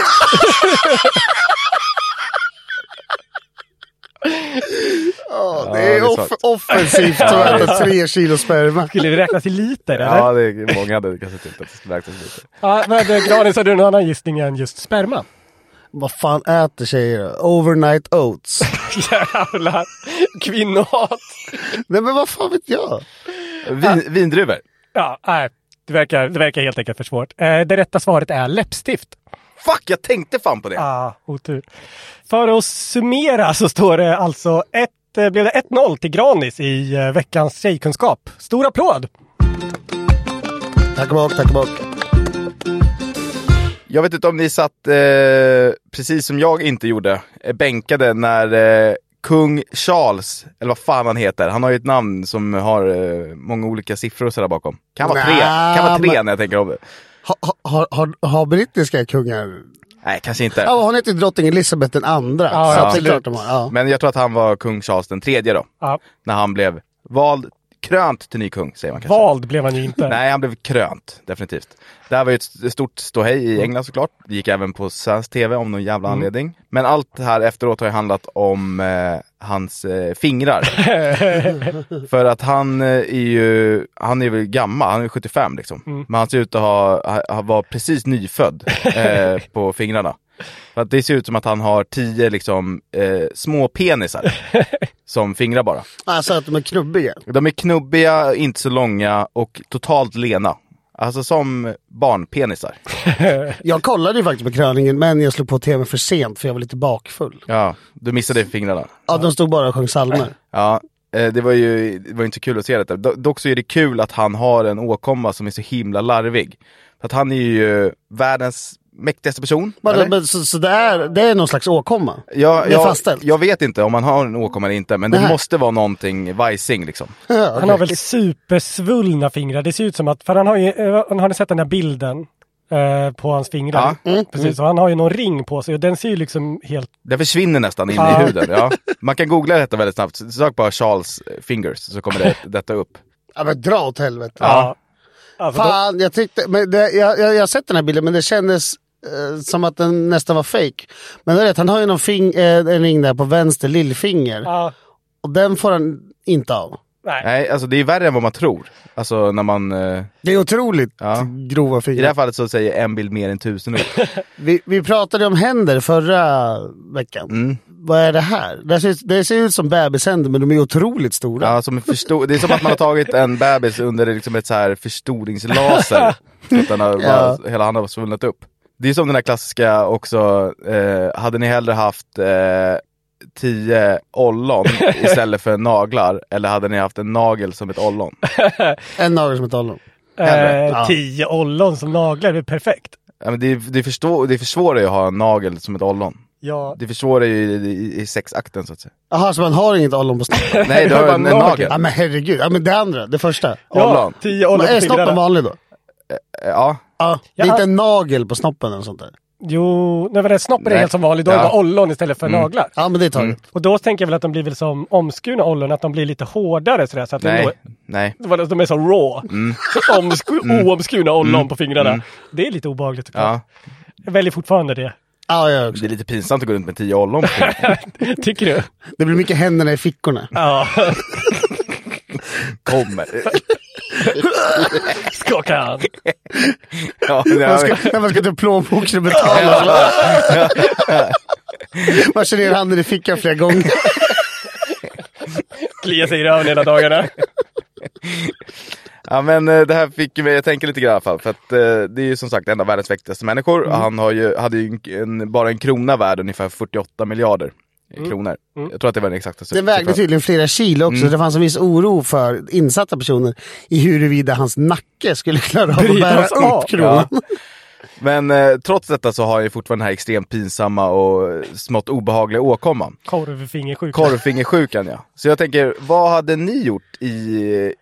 [SPEAKER 2] Ja, det
[SPEAKER 1] det
[SPEAKER 2] är
[SPEAKER 1] är
[SPEAKER 2] off-
[SPEAKER 1] svagt.
[SPEAKER 2] offensivt att äta tre kilo sperma.
[SPEAKER 3] Skulle vi räknas i liter eller?
[SPEAKER 1] ja, det är, många hade kanske tyckt att det skulle räknas lite.
[SPEAKER 3] Ja, men eh, Granis, har du någon annan gissning än just sperma?
[SPEAKER 2] Vad fan äter tjejer då? Overnight oats.
[SPEAKER 3] Jävlar, kvinnohat.
[SPEAKER 2] Nej men vad fan vet jag?
[SPEAKER 1] Vin, vindruvor.
[SPEAKER 3] Ja, nej. Det verkar, det verkar helt enkelt för svårt. Eh, det rätta svaret är läppstift.
[SPEAKER 1] Fuck, jag tänkte fan på det!
[SPEAKER 3] Ah, otur. För att summera så står det alltså ett, eh, blev det 1-0 till Granis i eh, veckans tjejkunskap. Stor applåd!
[SPEAKER 2] Tack och bock, tack och bock.
[SPEAKER 1] Jag vet inte om ni satt, eh, precis som jag inte gjorde, eh, bänkade när eh, kung Charles, eller vad fan han heter, han har ju ett namn som har eh, många olika siffror och sådär bakom. Kan vara tre,
[SPEAKER 2] Nä,
[SPEAKER 1] kan vara tre
[SPEAKER 2] men-
[SPEAKER 1] när jag tänker om det.
[SPEAKER 2] Ha- ha- Har har- har brittiska kungar...
[SPEAKER 1] Nej, kanske inte.
[SPEAKER 2] Ja, hon heter ju drottning Elizabeth den andra.
[SPEAKER 3] Ja,
[SPEAKER 2] så
[SPEAKER 3] ja,
[SPEAKER 2] att det är
[SPEAKER 3] absolut.
[SPEAKER 2] klart de har. Ja.
[SPEAKER 1] Men jag tror att han var kung Charles den tredje då,
[SPEAKER 3] Ja,
[SPEAKER 1] när han blev vald, krönt till ny kung säger man kanske.
[SPEAKER 3] vald blev han ju inte.
[SPEAKER 1] Nej, han blev krönt, definitivt. Det här var ju ett stort ståhej i England såklart. Det gick även på svensk tv om någon jävla anledning. Men allt det här efteråt har ju handlat om eh, hans eh, fingrar. För att han eh, är ju, han är väl gammal, han är 75 liksom. Men han ser ut att ha, ha- ha var precis nyfödd eh, på fingrarna. För att det ser ut som att han har tio liksom eh, små penisar som fingrar bara.
[SPEAKER 2] Alltså att de är knubbiga.
[SPEAKER 1] De är knubbiga, inte så långa och totalt lena. Alltså som barnpenisar.
[SPEAKER 2] Jag kollade ju faktiskt på kröningen men jag slog på tv för sent för jag var lite bakfull.
[SPEAKER 1] Ja, du missade fingrarna.
[SPEAKER 2] Ja, de stod bara och sjöng psalmer.
[SPEAKER 1] Ja, eh, det var ju det var inte så kul att se detta. Do- Dock så är det kul att han har en åkomma som är så himla larvig. För att han är ju världens mäktigaste person.
[SPEAKER 2] Men,
[SPEAKER 1] eller?
[SPEAKER 2] men, så så det, är, det är någon slags åkomma?
[SPEAKER 1] jag,
[SPEAKER 2] det är
[SPEAKER 1] jag,
[SPEAKER 2] fastställt?
[SPEAKER 1] jag vet inte om han har en åkomma eller inte, men det
[SPEAKER 2] Nej.
[SPEAKER 1] måste vara någonting vajsing liksom.
[SPEAKER 2] Ja,
[SPEAKER 3] Han har väl supersvullna fingrar. Det ser ut som att, för han har ju, eh, har ni sett den här bilden? eh, På hans fingrar.
[SPEAKER 2] Mm.
[SPEAKER 3] Precis, och han har ju någon ring på sig och den ser ju liksom helt
[SPEAKER 1] Det försvinner nästan in
[SPEAKER 3] Ja.
[SPEAKER 1] i huden. Ja. Man kan googla detta väldigt snabbt. Sök bara Charles fingers så kommer det, detta upp.
[SPEAKER 2] Ja, men dra åt helvete.
[SPEAKER 3] Ja. Alltså, de,
[SPEAKER 2] Fan, jag tyckte... Men det, jag, jag, jag har sett den här bilden men det kändes eh, som att den nästan var fake. Men det är rätt, han har ju någon fing, eh, en ring där på vänster lillfinger.
[SPEAKER 3] ja,
[SPEAKER 2] Och den får han inte av.
[SPEAKER 3] nej.
[SPEAKER 1] Nej, alltså det är värre än vad man tror. Alltså när man... Eh,
[SPEAKER 2] Det är otroligt
[SPEAKER 1] Ja.
[SPEAKER 2] grova
[SPEAKER 1] I det här
[SPEAKER 2] fingrar.
[SPEAKER 1] fallet så säger en bild mer än tusen ord.
[SPEAKER 2] Vi, vi pratade om händer förra veckan.
[SPEAKER 1] Mm.
[SPEAKER 2] Vad är det här? Det här ser, ut- det ser ut som bebishänder men de är otroligt stora.
[SPEAKER 1] Ja, som en förstor- det är som att man har tagit en bebis under liksom ett så här förstoringslaser. Så att den har bara, hela handen har svullnat upp. Det är som den här klassiska också, eh, hade ni hellre haft eh, tio ollon istället för naglar? Eller hade ni haft en nagel som ett ollon?
[SPEAKER 2] En nagel som ett ollon.
[SPEAKER 1] Hellre.
[SPEAKER 3] Eh, tio ollon som naglar, det är perfekt.
[SPEAKER 1] Ja, men det, det, förstår, det försvårar ju att ha en nagel som ett ollon.
[SPEAKER 3] Ja,
[SPEAKER 1] Det försvårar ju i, i, i sexakten så att säga.
[SPEAKER 2] Jaha, så man har inget ollon på snoppen?
[SPEAKER 1] Nej, du har en, en nagel.
[SPEAKER 2] ja men herregud. Ja men det andra, det första.
[SPEAKER 3] ja
[SPEAKER 1] Ollon.
[SPEAKER 3] tio ollon
[SPEAKER 2] Men
[SPEAKER 3] på
[SPEAKER 2] är snoppen
[SPEAKER 3] fingrarna.
[SPEAKER 2] vanlig då?
[SPEAKER 1] Ja.
[SPEAKER 2] Ja. Det är
[SPEAKER 3] Ja.
[SPEAKER 2] inte en nagel på snoppen eller sånt där?
[SPEAKER 3] Jo, nej, men det snoppen är
[SPEAKER 1] Nej.
[SPEAKER 3] helt som vanligt. Då är det
[SPEAKER 1] Ja.
[SPEAKER 3] bara ollon istället för naglar.
[SPEAKER 2] Ja men det är
[SPEAKER 1] Mm.
[SPEAKER 2] taget.
[SPEAKER 3] Och då tänker jag väl att de blir väl som omskurna ollon, att de blir lite hårdare sådär. Så att
[SPEAKER 1] Nej.
[SPEAKER 3] det
[SPEAKER 1] Nej.
[SPEAKER 3] är nog- de är så raw. Omsku- oomskurna ollon på fingrarna. Det är lite obehagligt såklart.
[SPEAKER 1] Ja.
[SPEAKER 3] Jag väljer fortfarande det.
[SPEAKER 2] Ja, jag också.
[SPEAKER 1] Det är lite pinsamt att gå runt med tio ollon på fingret.
[SPEAKER 3] Tycker du?
[SPEAKER 2] Det blir mycket händerna i fickorna.
[SPEAKER 3] Ja,
[SPEAKER 1] kommer.
[SPEAKER 3] skaka hand.
[SPEAKER 1] Ja, det
[SPEAKER 2] Man
[SPEAKER 1] har
[SPEAKER 2] ska,
[SPEAKER 1] vi.
[SPEAKER 2] när man ska ta plånboken och betala. Man kör ner handen i fickan flera gånger.
[SPEAKER 3] Klia sig i röven hela dagarna.
[SPEAKER 1] ja men eh, det här fick ju mig att tänka lite grann i alla fall. För att eh, det är ju som sagt en av världens viktigaste människor. Han har ju, hade ju en, en, bara en krona värd ungefär 48 miljarder kronor. Jag tror att det var Mm. den typ- exakta
[SPEAKER 2] Det vägde tydligen flera kilo också.
[SPEAKER 1] Mm.
[SPEAKER 2] Det fanns en viss oro för insatta personer i huruvida hans nacke skulle klara av att
[SPEAKER 3] Brytas
[SPEAKER 2] bära
[SPEAKER 3] av.
[SPEAKER 2] upp kronan.
[SPEAKER 1] Ja. Men eh, trots detta så har jag ju fortfarande den här extremt pinsamma och smått obehagliga åkomman.
[SPEAKER 3] Korvfingersjuka.
[SPEAKER 1] Korvfingersjukan ja. Så jag tänker, vad hade ni gjort i,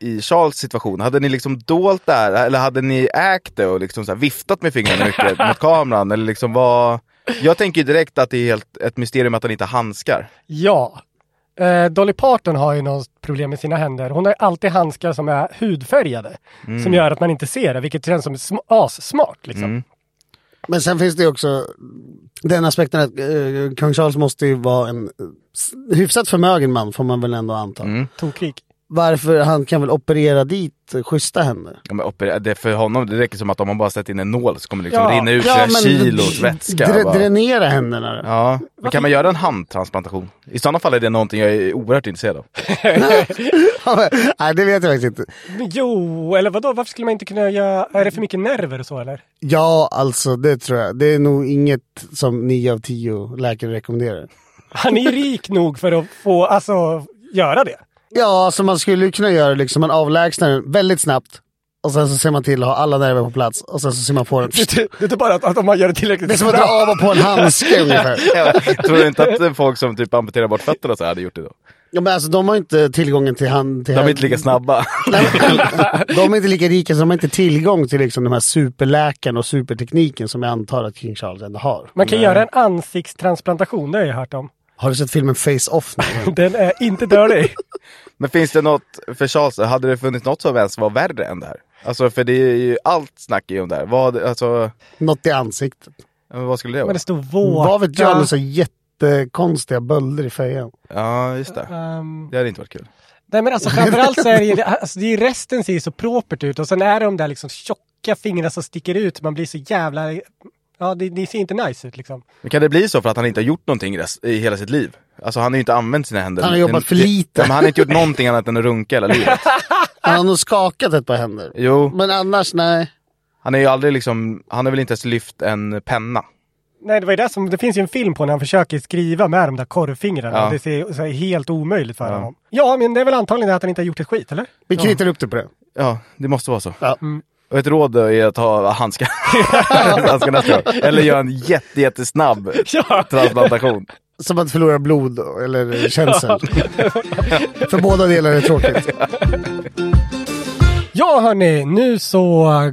[SPEAKER 1] i Charles situation? Hade ni liksom dolt det här eller hade ni ägt det och liksom så här viftat med fingrarna mycket mot kameran? Eller liksom vad... Jag tänker ju direkt att det är helt ett mysterium att han inte har handskar.
[SPEAKER 3] Ja. Eh, Dolly Parton har ju något problem med sina händer. Hon har ju alltid handskar som är hudfärgade. Som gör att man inte ser det, vilket känns som sm- assmart. Liksom.
[SPEAKER 2] Men sen finns det ju också den aspekten att eh, kung Charles måste ju vara en eh, s- hyfsat förmögen man får man väl ändå anta.
[SPEAKER 1] Mm.
[SPEAKER 3] Tokig.
[SPEAKER 2] Varför han kan väl operera dit eh, schyssta händer.
[SPEAKER 1] Ja, men opera- det för honom det räcker som att om man bara sätter in en nål så kommer det liksom
[SPEAKER 3] Ja.
[SPEAKER 1] rinna ut flera kilos vätska.
[SPEAKER 2] Dr-
[SPEAKER 1] bara.
[SPEAKER 2] dränera händerna då.
[SPEAKER 1] Ja, men kan man göra en handtransplantation? I sådana fall är det någonting jag är oerhört intresserad av.
[SPEAKER 2] Nej det vet jag faktiskt inte.
[SPEAKER 3] Men Jo, eller vadå? Varför skulle man inte kunna göra... Är det för mycket nerver och så eller?
[SPEAKER 2] Ja alltså det tror jag. Det är nog inget som 9 av 10 läkare rekommenderar.
[SPEAKER 3] Han är ju rik nog för att få, alltså, göra det.
[SPEAKER 2] Ja alltså man skulle ju kunna göra liksom, man avlägsnar den väldigt snabbt. Och sen så ser man till att ha alla nerver på plats och sen så ser man på den.
[SPEAKER 3] Det är bara att, att om man gör det tillräckligt
[SPEAKER 2] Det är som att dra av och på en handske ungefär.
[SPEAKER 1] Jag tror inte att eh, folk som typ amputerar bort fötterna så här hade gjort det då?
[SPEAKER 2] Ja, men alltså, de har inte tillgången till hand... Till
[SPEAKER 1] De är inte lika snabba.
[SPEAKER 2] Nej, men- de är inte lika rika så de har inte tillgång till liksom, de här superläkarna och supertekniken som jag antar att King Charles ändå har.
[SPEAKER 3] Man kan göra en ansiktstransplantation, det har jag hört om.
[SPEAKER 2] Har du sett filmen Face-Off nu?
[SPEAKER 3] Den är inte dålig.
[SPEAKER 1] Men finns det något, för Charles, hade det funnits något som ens var värre än det här? Alltså för det är ju, allt snack är ju om det här. Vad, alltså,
[SPEAKER 2] Något i ansiktet.
[SPEAKER 1] vad skulle det
[SPEAKER 3] Men
[SPEAKER 1] vara?
[SPEAKER 3] det står våta.
[SPEAKER 2] Vad vet jag? Alltså, jättekonstiga bölder i fejan.
[SPEAKER 1] Ja, just det.
[SPEAKER 3] Ehm,
[SPEAKER 1] Det hade inte varit kul.
[SPEAKER 3] nej men alltså framförallt så är det ju, alltså, det är ju resten ser ju så propert ut och sen är det de där liksom tjocka fingrarna som sticker ut. Man blir så jävla, ja det, det ser inte nice ut liksom.
[SPEAKER 1] Men kan det bli så för att han inte har gjort någonting i res- i hela sitt liv? Alltså han har ju inte använt sina händer.
[SPEAKER 2] Han har jobbat för
[SPEAKER 1] Ja,
[SPEAKER 2] lite.
[SPEAKER 1] Men han har inte gjort någonting annat än att runka hela livet.
[SPEAKER 2] Han har nog skakat ett par händer.
[SPEAKER 1] Jo,
[SPEAKER 2] Men annars nej.
[SPEAKER 1] han är ju aldrig liksom, han har väl inte ens lyft en penna.
[SPEAKER 3] Nej det var ju det som, det finns ju en film på när han försöker skriva med de där korvfingrarna.
[SPEAKER 1] Ja.
[SPEAKER 3] Och Det ser så här, helt omöjligt för honom. Ja men det är väl antagligen det att han inte har gjort ett skit eller?
[SPEAKER 2] Vi kritar upp det på det.
[SPEAKER 1] Ja, det måste vara så.
[SPEAKER 2] Ja.
[SPEAKER 1] Och ett råd är att ha handskar. handskar nästa gång. Eller göra en jätte, jättesnabb
[SPEAKER 3] Ja.
[SPEAKER 1] transplantation.
[SPEAKER 2] Som att förlora blod eller känsel. För båda delar är tråkigt.
[SPEAKER 3] Ja hörni, nu så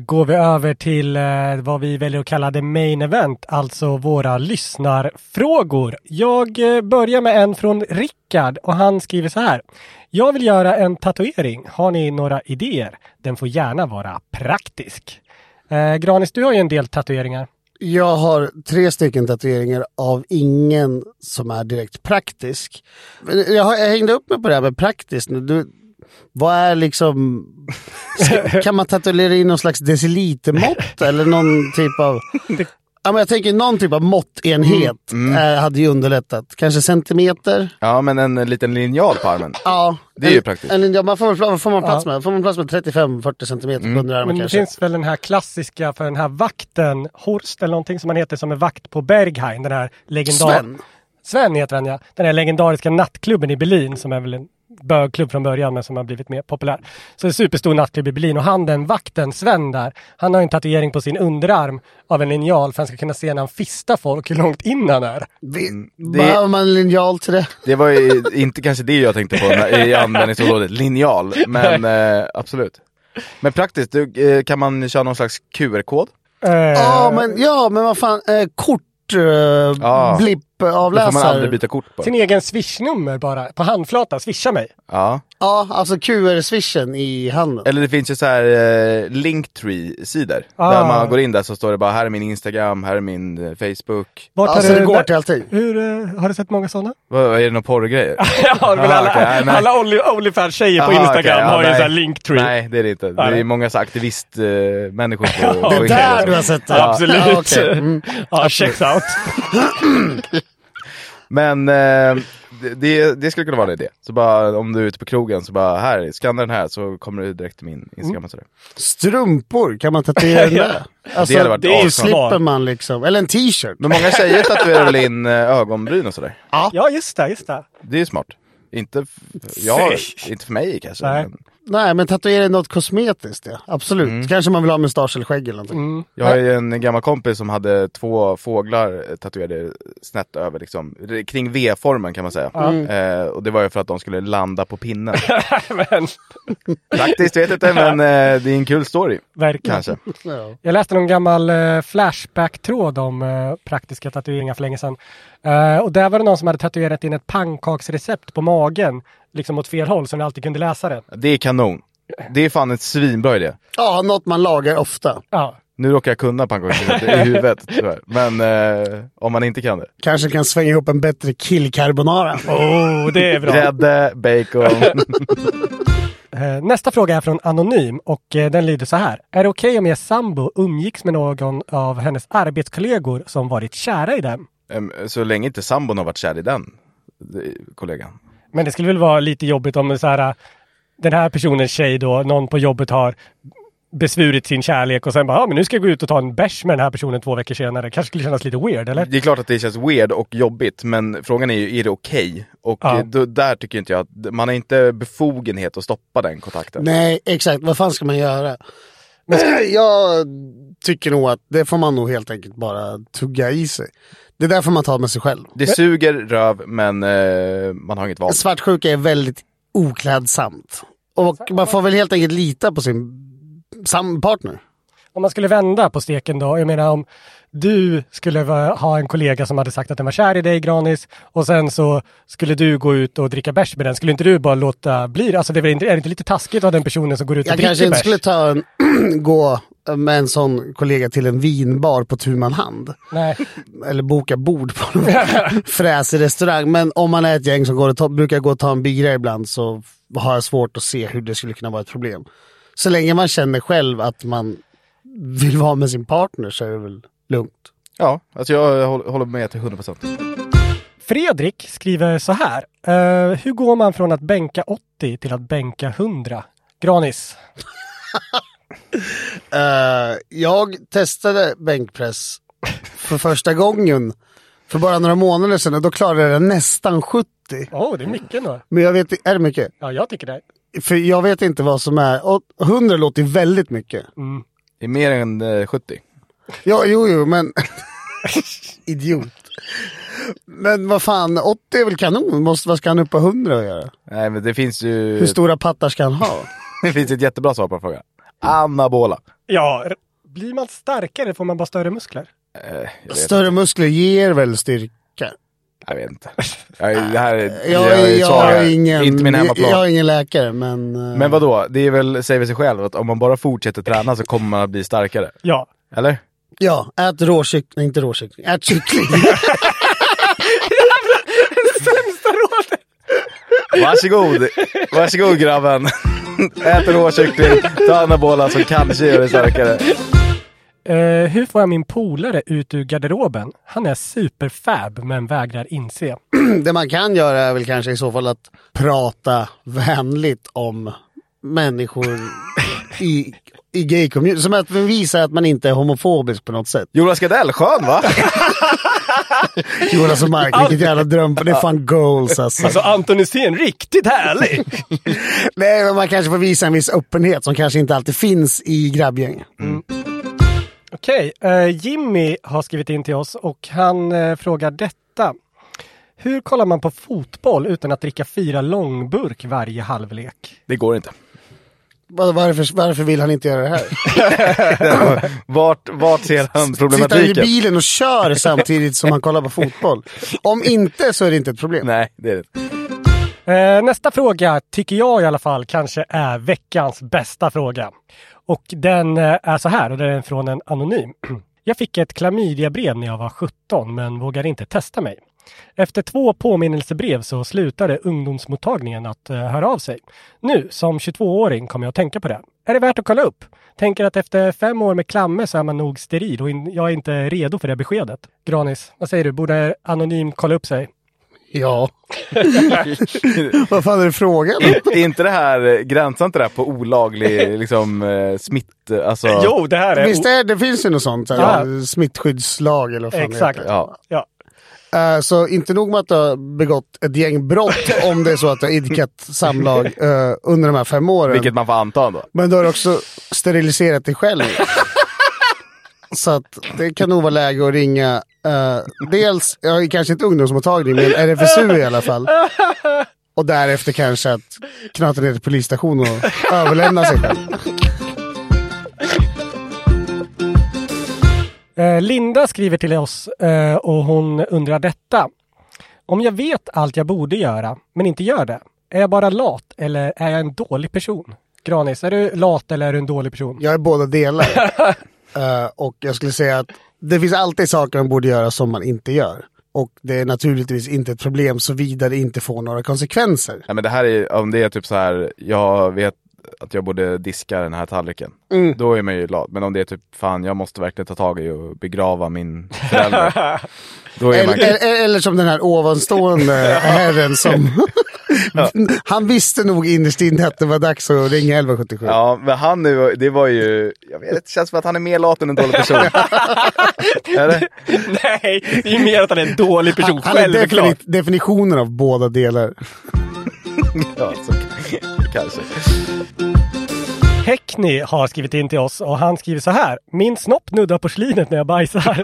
[SPEAKER 3] går vi över till eh, vad vi väljer att kalla the main event, alltså våra lyssnarfrågor. Jag eh, börjar med en från Rickard och han skriver så här. Jag vill göra en tatuering. Har ni några idéer? Den får gärna vara praktisk. Eh, Granis, du har ju en del tatueringar.
[SPEAKER 2] Jag har tre stycken tatueringar av ingen som är direkt praktisk. Men Jag, har, jag hängde upp mig på det här med praktiskt nu. Du, vad är liksom... Ska, kan man tatuera in någon slags decilitermått eller någon typ av... Ja, men jag tänker någon typ av måttenhet eh, hade ju underlättat. Kanske centimeter?
[SPEAKER 1] Ja, men en eh, liten linjal på armen.
[SPEAKER 3] Ah,
[SPEAKER 2] Ja.
[SPEAKER 1] Det är ju praktiskt.
[SPEAKER 2] En, ja, man får, väl- vad får man plats med? Får man plats med 35-40 centimeter
[SPEAKER 1] Mm.
[SPEAKER 2] på underarmen
[SPEAKER 3] Men det
[SPEAKER 2] kanske?
[SPEAKER 3] finns väl den här klassiska för den här vakten, Horst eller någonting som han heter som är vakt på Berghain. Den här legendar...
[SPEAKER 2] Sven.
[SPEAKER 3] Sven heter han ja. Den här legendariska nattklubben i Berlin som är väl en bögklubb från början men som har blivit mer populär. Så en superstor nattklubb i Berlin och han den vakten, Sven där, han har ju en tatuering på sin underarm av en linjal för han ska kunna se när han fistar folk hur långt in han är.
[SPEAKER 2] Vi,
[SPEAKER 1] Mm, det-
[SPEAKER 2] Behöver man en linjal till det?
[SPEAKER 1] Det var ju inte kanske det jag tänkte på när- i användningsområdet, linjal. Men eh, absolut. Men praktiskt, du, eh, kan man köra någon slags QR-kod?
[SPEAKER 3] Eh,
[SPEAKER 1] Eh.
[SPEAKER 2] Ja, men, ja, men vad fan. Eh, kort, eh,
[SPEAKER 1] Ja.
[SPEAKER 2] blipp, eh,
[SPEAKER 1] Då får man
[SPEAKER 2] avläsare.
[SPEAKER 1] aldrig byta kort på.
[SPEAKER 3] Sin egen swishnummer bara, på handflatan, swisha mig.
[SPEAKER 1] Ja.
[SPEAKER 2] Ja, alltså QR-swishen i handen.
[SPEAKER 1] Eller det finns ju så här eh, Linktree-sidor.
[SPEAKER 3] Ah.
[SPEAKER 1] Där man går in där så står det bara här är min Instagram, här är min eh, Facebook.
[SPEAKER 3] Vart
[SPEAKER 2] Alltså
[SPEAKER 3] har
[SPEAKER 2] det
[SPEAKER 3] du-
[SPEAKER 2] går till allting.
[SPEAKER 3] Hur, eh, har du sett många sådana?
[SPEAKER 1] Vad, vad är det några porrgrejer?
[SPEAKER 3] Ja, men
[SPEAKER 1] Ah,
[SPEAKER 3] alla,
[SPEAKER 1] okej, nej, nej.
[SPEAKER 3] alla Only- Onlyfans-tjejer på
[SPEAKER 1] Aha,
[SPEAKER 3] Instagram
[SPEAKER 1] okej, ja,
[SPEAKER 3] har ju
[SPEAKER 1] nej.
[SPEAKER 3] så här linktree.
[SPEAKER 1] Nej, det är det inte. Det är
[SPEAKER 3] Nej.
[SPEAKER 1] många så här aktivist-människor på, på
[SPEAKER 3] Det är
[SPEAKER 2] Det
[SPEAKER 1] Instagram
[SPEAKER 2] är där
[SPEAKER 1] liksom.
[SPEAKER 2] du har sett det?
[SPEAKER 3] Ah, Ja, absolut.
[SPEAKER 2] Ja, okej. mm.
[SPEAKER 3] Ja, checks out.
[SPEAKER 1] Men eh, det- det, det skulle kunna vara en idé. Så bara om du är ute på krogen så bara här, skanna den här så kommer du direkt till min Instagram och sådär.
[SPEAKER 2] Strumpor, kan man tatuera
[SPEAKER 3] Ja.
[SPEAKER 2] det? Alltså,
[SPEAKER 1] Det hade varit
[SPEAKER 2] då
[SPEAKER 1] asbra.
[SPEAKER 2] slipper man liksom. Eller en t-shirt.
[SPEAKER 1] Men många tjejer tatuerar väl in eh, ögonbryn och sådär.
[SPEAKER 3] Ja, just det, just det.
[SPEAKER 1] Det är ju smart. Inte, f- ja,
[SPEAKER 3] Fish.
[SPEAKER 1] inte för mig kanske.
[SPEAKER 3] Nej.
[SPEAKER 1] Men,
[SPEAKER 2] Nej, men tatuera är något kosmetiskt. Ja. Absolut.
[SPEAKER 1] Mm.
[SPEAKER 2] Kanske man vill ha mustasch eller skägg eller någonting.
[SPEAKER 1] Jag har ju en gammal kompis som hade två fåglar eh, tatuerade snett över, liksom, r- kring V-formen kan man säga. Eh, och det var ju för att de skulle landa på pinnen.
[SPEAKER 3] Men,
[SPEAKER 1] Praktiskt vet jag inte, men eh, det är en kul story.
[SPEAKER 3] verkligen.
[SPEAKER 1] Kanske.
[SPEAKER 2] Mm. Ja.
[SPEAKER 3] Jag läste någon gammal eh, Flashback-tråd om eh, praktiska tatueringar för länge sedan. Eh, och där var det någon som hade tatuerat in ett pannkaksrecept på magen, liksom åt fel håll, så ni alltid kunde läsa det.
[SPEAKER 1] Det är kanon. Det är fan ett svinbra idé.
[SPEAKER 2] ja, något man lagar ofta.
[SPEAKER 3] Ja,
[SPEAKER 1] Nu råkar jag kunna pannkaksrecept i huvudet tyvärr. Men eh, om man inte kan det.
[SPEAKER 2] Kanske kan svänga ihop en bättre killcarbonara.
[SPEAKER 3] oh, det är bra.
[SPEAKER 1] Grädde, bacon.
[SPEAKER 3] Eh, Nästa fråga är från Anonym och eh, den lyder så här. Är det okej om er sambo umgicks med någon av hennes arbetskollegor som varit kära i den?
[SPEAKER 1] Em, Så länge inte sambon har varit kär i den det- kollegan.
[SPEAKER 3] Men det skulle väl vara lite jobbigt om så här, eh, den här personens tjej då, någon på jobbet har besvurit sin kärlek och sen bara, ja men nu ska jag gå ut och ta en bärs med den här personen två veckor senare. Kanske skulle kännas lite weird eller?
[SPEAKER 1] Det är klart att det känns weird och jobbigt, men frågan är ju, är det okej? Och
[SPEAKER 3] Ja.
[SPEAKER 1] eh, då, där tycker inte jag att, man har inte befogenhet att stoppa den kontakten.
[SPEAKER 2] Nej, exakt. Vad fan ska man göra? jag tycker nog att det får man nog helt enkelt bara tugga i sig. Det där får man ta med sig själv.
[SPEAKER 1] Det suger röv, men eh, man har inget val.
[SPEAKER 2] Svartsjuka är väldigt oklädsamt. Och man får väl helt enkelt lita på sin sam- partner.
[SPEAKER 3] Om man skulle vända på steken då, jag menar om du skulle va- ha en kollega som hade sagt att den var kär i dig Granis och sen så skulle du gå ut och dricka bärs med den, skulle inte du bara låta bli det? Alltså det är, väl inte, är det inte lite taskigt av den personen som går ut och
[SPEAKER 2] Jag
[SPEAKER 3] dricker bärs?
[SPEAKER 2] kanske inte skulle ta en, gå med en sån kollega till en vinbar på tu man hand.
[SPEAKER 3] Nej.
[SPEAKER 2] Eller boka bord på någon fräsig restaurang. Men om man är ett gäng som går och ta, brukar gå och ta en bira ibland så har jag svårt att se hur det skulle kunna vara ett problem. Så länge man känner själv att man vill vara med sin partner så är det väl lugnt.
[SPEAKER 1] Ja, alltså jag håller håller med till 100%.
[SPEAKER 3] Fredrik skriver så här. eh, hur går man från att bänka 80 till att bänka 100? Granis?
[SPEAKER 2] Eh, jag testade bänkpress för första gången för bara några månader sedan och då klarade jag nästan 70.
[SPEAKER 3] Åh, oh, det är mycket nu.
[SPEAKER 2] Men jag vet, är det mycket?
[SPEAKER 3] Ja, jag tycker det.
[SPEAKER 2] För jag vet inte vad som är, och 100 låter ju väldigt mycket.
[SPEAKER 1] Det är mer än eh, 70.
[SPEAKER 2] Ja, jo, jo, men... Idiot. Men vad fan, 80 är väl kanon? Måste, vad ska han upp på 100 och göra?
[SPEAKER 1] Nej, men det finns ju...
[SPEAKER 2] Hur stora pattar ska han ha?
[SPEAKER 1] Det finns ett jättebra svar på den frågan. Anabola.
[SPEAKER 3] Ja, r- blir man starkare får man bara större muskler.
[SPEAKER 1] Jag vet,
[SPEAKER 2] Större muskler ger väl styrka?
[SPEAKER 1] jag vet inte. Jag, är- det här är,
[SPEAKER 2] Jag,
[SPEAKER 1] är
[SPEAKER 2] jag,
[SPEAKER 1] svag här.
[SPEAKER 2] är ingen,
[SPEAKER 1] Inte min hemmaplan.
[SPEAKER 2] jag är ingen läkare, men... eh,
[SPEAKER 1] Men vadå, det är väl, säger väl sig själv att om man bara fortsätter träna så kommer man att bli starkare.
[SPEAKER 3] Ja.
[SPEAKER 1] Eller?
[SPEAKER 2] Ja, ät råkyckling, inte råkyckling, ät kyckling.
[SPEAKER 1] Varsågod! Varsågod grabben! Ät råkyckling, ta anabola så kanske gör dig starkare.
[SPEAKER 3] Eh, hur får jag min polare ut ur garderoben? Han är superfab men vägrar inse.
[SPEAKER 2] det man kan göra är väl kanske i så fall att prata vänligt om människor i, i gay community. Som att man visar att man inte är homofobisk på något sätt.
[SPEAKER 1] Jonas Gardell, skön va?
[SPEAKER 2] Jonas och Mark, vilket jävla dröm. Det är fan goals alltså.
[SPEAKER 3] Anton Hysén, riktigt härlig!
[SPEAKER 2] Nej, men man kanske får visa en viss öppenhet som kanske inte alltid finns i grabbgäng.
[SPEAKER 3] Okej, eh, Jimmy har skrivit in till oss och han eh, frågar detta. Hur kollar man på fotboll utan att dricka fyra långburk varje halvlek?
[SPEAKER 1] Det går inte.
[SPEAKER 2] Vad- Varför, varför vill han inte göra det här?
[SPEAKER 1] Vart, vart ser han
[SPEAKER 2] Sitter han i
[SPEAKER 1] problematiken?
[SPEAKER 2] bilen och kör samtidigt som han kollar på fotboll? Om inte så är det inte ett problem.
[SPEAKER 1] Nej, det är det inte.
[SPEAKER 3] Eh, nästa fråga tycker jag i alla fall kanske är veckans bästa fråga. Och den eh, är så här och den är från en anonym. Jag fick ett klamydiabrev när jag var 17 men vågade inte testa mig. Efter två påminnelsebrev så slutade ungdomsmottagningen att eh, höra av sig. Nu som 22-åring kommer jag att tänka på det. Är det värt att kolla upp? Tänker att efter fem år med klamme så är man nog steril och in- jag är inte redo för det beskedet. Granis, vad säger du? Borde anonym kolla upp sig?
[SPEAKER 2] Ja. Vad fan är det frågan om?
[SPEAKER 1] Är inte det här, gränsar inte det här på olaglig liksom, eh, smitt... Alltså,
[SPEAKER 3] det här
[SPEAKER 2] Visst är det, finns ju något sånt, så här,
[SPEAKER 3] Ja.
[SPEAKER 2] smittskyddslag eller vad fan det
[SPEAKER 3] Exakt.
[SPEAKER 2] heter.
[SPEAKER 1] Ja.
[SPEAKER 3] Ja.
[SPEAKER 2] Eh, Så inte nog med att du har begått ett gäng brott om det är så att du har idkat samlag eh, under de här fem åren.
[SPEAKER 1] Vilket man får anta då.
[SPEAKER 2] Men du har också steriliserat dig själv. Så att det kan nog vara läge att ringa eh, dels, ja, kanske inte ungdomsmottagning, men RFSU i alla fall. Och därefter kanske att knata ner till polisstation och överlämna sig själv.
[SPEAKER 3] Eh, Linda skriver till oss eh, och hon undrar detta. Om jag vet allt jag borde göra, men inte gör det, är jag bara lat eller är jag en dålig person? Granis, är du lat eller är du en dålig person?
[SPEAKER 2] Jag är båda delar. Eh, och jag skulle säga att det finns alltid saker man borde göra som man inte gör. Och det är naturligtvis inte ett problem såvida det inte får några konsekvenser.
[SPEAKER 1] Nej men det här är, om det är typ så här, jag vet att jag borde diska den här tallriken. Då är man ju glad. Men om det är typ, fan jag måste verkligen ta tag i och begrava min förälder. då är man
[SPEAKER 2] Eller, eller, eller som den här ovanstående herren som... Han visste nog innerst inne att det var dags att ringa 1177.
[SPEAKER 1] Ja, men han nu, det var ju, jag vet inte, det känns som att han är mer lat än en dålig person. Eller?
[SPEAKER 6] Nej, det är ju mer att han är en dålig person.
[SPEAKER 2] Han är defini-
[SPEAKER 6] Självklart.
[SPEAKER 2] definitionen av båda delar.
[SPEAKER 1] Ja, så, kanske.
[SPEAKER 3] Häckni har skrivit in till oss och han skriver så här. Min snopp nuddar porslinet när jag bajsar.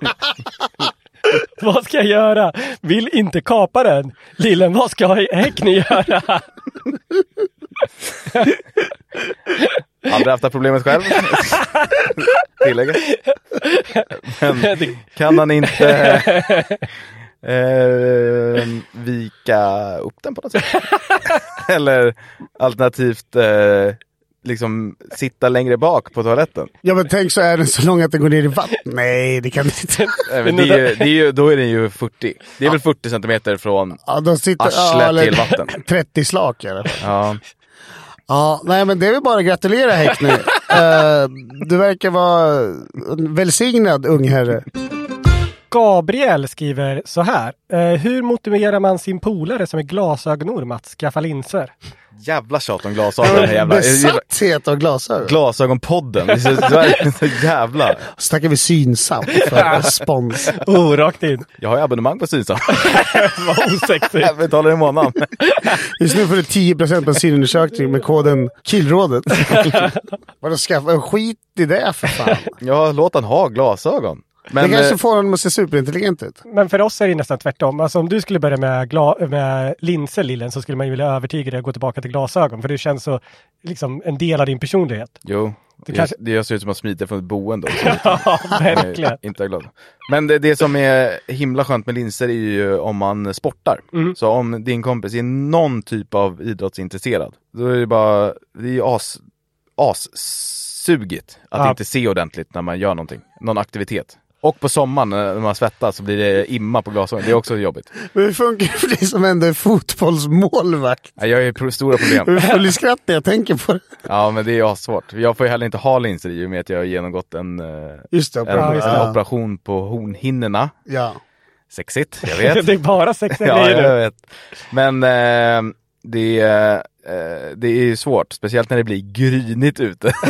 [SPEAKER 3] vad ska jag göra? Vill inte kapa den. Lillen, vad ska Häckni göra?
[SPEAKER 1] Aldrig haft det här problemet själv. Tillägga. Men kan han inte eh, vika upp den på något sätt? Eller alternativt eh, liksom sitta längre bak på toaletten?
[SPEAKER 2] Ja men tänk så är den så lång att den går ner i vatten. Nej, det kan den inte.
[SPEAKER 1] Nej, men det är ju, det är ju, då är den ju 40. Det är väl 40 centimeter från
[SPEAKER 2] Ja, de sitter, ja,
[SPEAKER 1] Arslet
[SPEAKER 2] eller-
[SPEAKER 1] till vatten.
[SPEAKER 2] 30 slak i alla fall.
[SPEAKER 1] Ja.
[SPEAKER 2] Ja, nej men det är väl bara att gratulera Häckny. Eh, du verkar vara en välsignad ung herre.
[SPEAKER 3] Gabriel skriver så här. Eh, hur motiverar man sin polare som är glasögonorm att skaffa linser?
[SPEAKER 1] Jävla tjat om glasögon. den här Jävla,
[SPEAKER 2] Besatthet av glasögon.
[SPEAKER 1] Glasögonpodden. Det är så, så, här- så jävla...
[SPEAKER 2] Så tackar vi Synsam för spons.
[SPEAKER 3] Oh, rakt in.
[SPEAKER 1] Jag har ju abonnemang på Synsam.
[SPEAKER 3] Vad osexigt.
[SPEAKER 1] Jag betalar i månaden.
[SPEAKER 2] Just nu får du 10% på en synundersökning med koden Killrådet. Vadå skaffa? Skit i det för fan.
[SPEAKER 1] Ja, låt han ha glasögon. Men,
[SPEAKER 2] det kanske
[SPEAKER 1] eh,
[SPEAKER 2] får honom att se superintelligent ut.
[SPEAKER 3] Men för oss är det nästan tvärtom. Alltså om du skulle börja med, gla- med linser Lillen så skulle man ju vilja övertyga dig att gå tillbaka till glasögon. För det känns så, liksom en del av din personlighet.
[SPEAKER 1] eh, Jo, det,
[SPEAKER 3] kanske-
[SPEAKER 1] det jag ser ut som att smita från ett boende också.
[SPEAKER 3] Ja, verkligen.
[SPEAKER 1] Jag är inte glad. Men det, det som är himla skönt med linser är ju om man sportar. Så om din kompis är någon typ av idrottsintresserad, då är det bara, det är ju as, assugigt att
[SPEAKER 3] Ja.
[SPEAKER 1] inte se ordentligt när man gör någonting, någon aktivitet. Och på sommaren när man svettas så blir det imma på glasögonen, det är också jobbigt.
[SPEAKER 2] Men hur funkar det för dig som ändå är fotbollsmålvakt?
[SPEAKER 1] Nej, Jag har ju pro- stora
[SPEAKER 2] Jag
[SPEAKER 1] problem.
[SPEAKER 2] är full i skratt när jag tänker på det.
[SPEAKER 1] Ja men det är ju assvårt. Jag får ju heller inte ha linser i och med att jag har genomgått en eh,
[SPEAKER 2] Just det,
[SPEAKER 1] en,
[SPEAKER 2] operation.
[SPEAKER 1] en operation på hornhinnorna.
[SPEAKER 2] Ja.
[SPEAKER 1] Sexigt, jag vet.
[SPEAKER 3] det är bara sexiga
[SPEAKER 1] ja,
[SPEAKER 3] grejer
[SPEAKER 1] jag
[SPEAKER 3] nu.
[SPEAKER 1] vet. Men eh, det, är, eh, det är ju svårt, speciellt när det blir grynigt ute.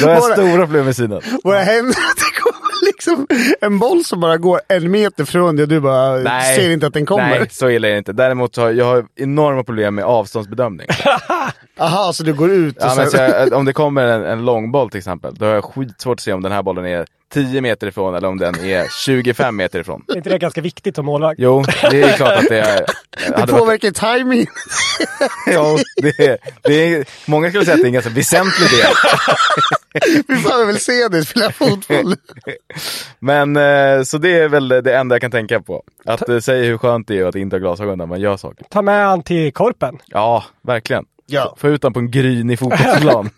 [SPEAKER 1] Då har jag stora problem med synen.
[SPEAKER 2] Vad händer? Det kommer liksom en boll som bara går en meter från dig och du bara ser inte att den kommer.
[SPEAKER 1] Nej, så illa är det inte. Däremot så har jag har enorma problem med avståndsbedömning.
[SPEAKER 2] Aha, så du går ut och
[SPEAKER 1] Ja, men så
[SPEAKER 2] sen...
[SPEAKER 1] jag, eh, om det kommer en, en långboll till exempel, då har jag skitsvårt att se om den här bollen är 10 meter ifrån eller om den är 25 meter ifrån.
[SPEAKER 3] Är inte det ganska viktigt som målvakt?
[SPEAKER 1] Jo, det är klart att det är...
[SPEAKER 2] Det
[SPEAKER 1] hade varit-
[SPEAKER 2] påverkar timing.
[SPEAKER 1] Ja, det är, det är, många skulle säga att det är en ganska väsentlig del.
[SPEAKER 2] Vi får väl se dig spela fotboll.
[SPEAKER 1] Men eh, så det är väl det enda jag kan tänka på. Att eh, säga hur skönt det är att inte ha glasögon när man gör saker.
[SPEAKER 3] Ta med han till korpen.
[SPEAKER 1] Ja, verkligen.
[SPEAKER 2] Ja.
[SPEAKER 1] Få ut den på en grynig fotbollsplan.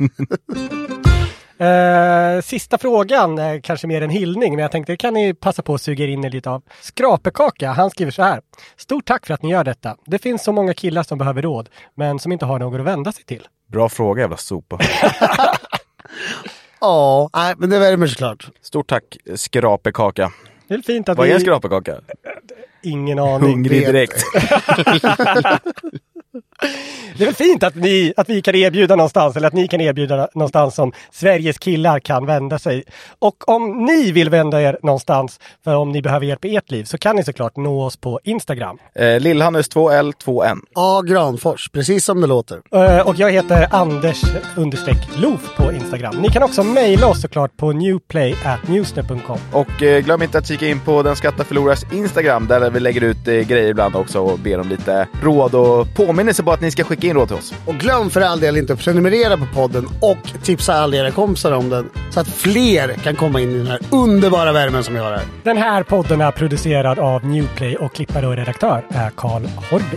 [SPEAKER 3] Eh, sista frågan, är kanske mer en hyllning, men jag tänkte det kan ni passa på att suga in er lite av. Skrapekaka, han skriver så här. Stort tack för att ni gör detta. Det finns så många killar som behöver råd, men som inte har någon att vända sig till.
[SPEAKER 1] Bra fråga jävla sopa.
[SPEAKER 2] Ja, nej, men det värmer såklart.
[SPEAKER 1] Stort tack skrapekaka.
[SPEAKER 3] Det är fint att
[SPEAKER 1] Vad
[SPEAKER 3] vi...
[SPEAKER 1] är en skrapekaka?
[SPEAKER 3] Ingen aning.
[SPEAKER 1] Hungrig
[SPEAKER 2] vet.
[SPEAKER 1] direkt.
[SPEAKER 3] Det är väl fint att, ni, att vi kan erbjuda någonstans, eller att ni kan erbjuda någonstans som Sveriges killar kan vända sig. Och om ni vill vända er någonstans, för om ni behöver hjälp i ert liv, så kan ni såklart nå oss på Instagram.
[SPEAKER 1] Eh, Lillhannes 2L2N.
[SPEAKER 2] A. Granfors, precis som det låter.
[SPEAKER 3] Eh, Och jag heter Anders understreck Loof på Instagram. Ni kan också mejla oss såklart på newplay.newsnet.com.
[SPEAKER 1] Och eh, glöm inte att kika in på Den Skatta Förlorars Instagram där vi lägger ut eh, grejer ibland också och ber om lite råd och påminnelse på att ni ska skicka in råd till oss.
[SPEAKER 2] Och glöm för all del inte att prenumerera på podden och tipsa alla era kompisar om den så att fler kan komma in i den här underbara värmen som vi har här.
[SPEAKER 3] Den här podden är producerad av Newplay och klippare och redaktör är Karl Horby.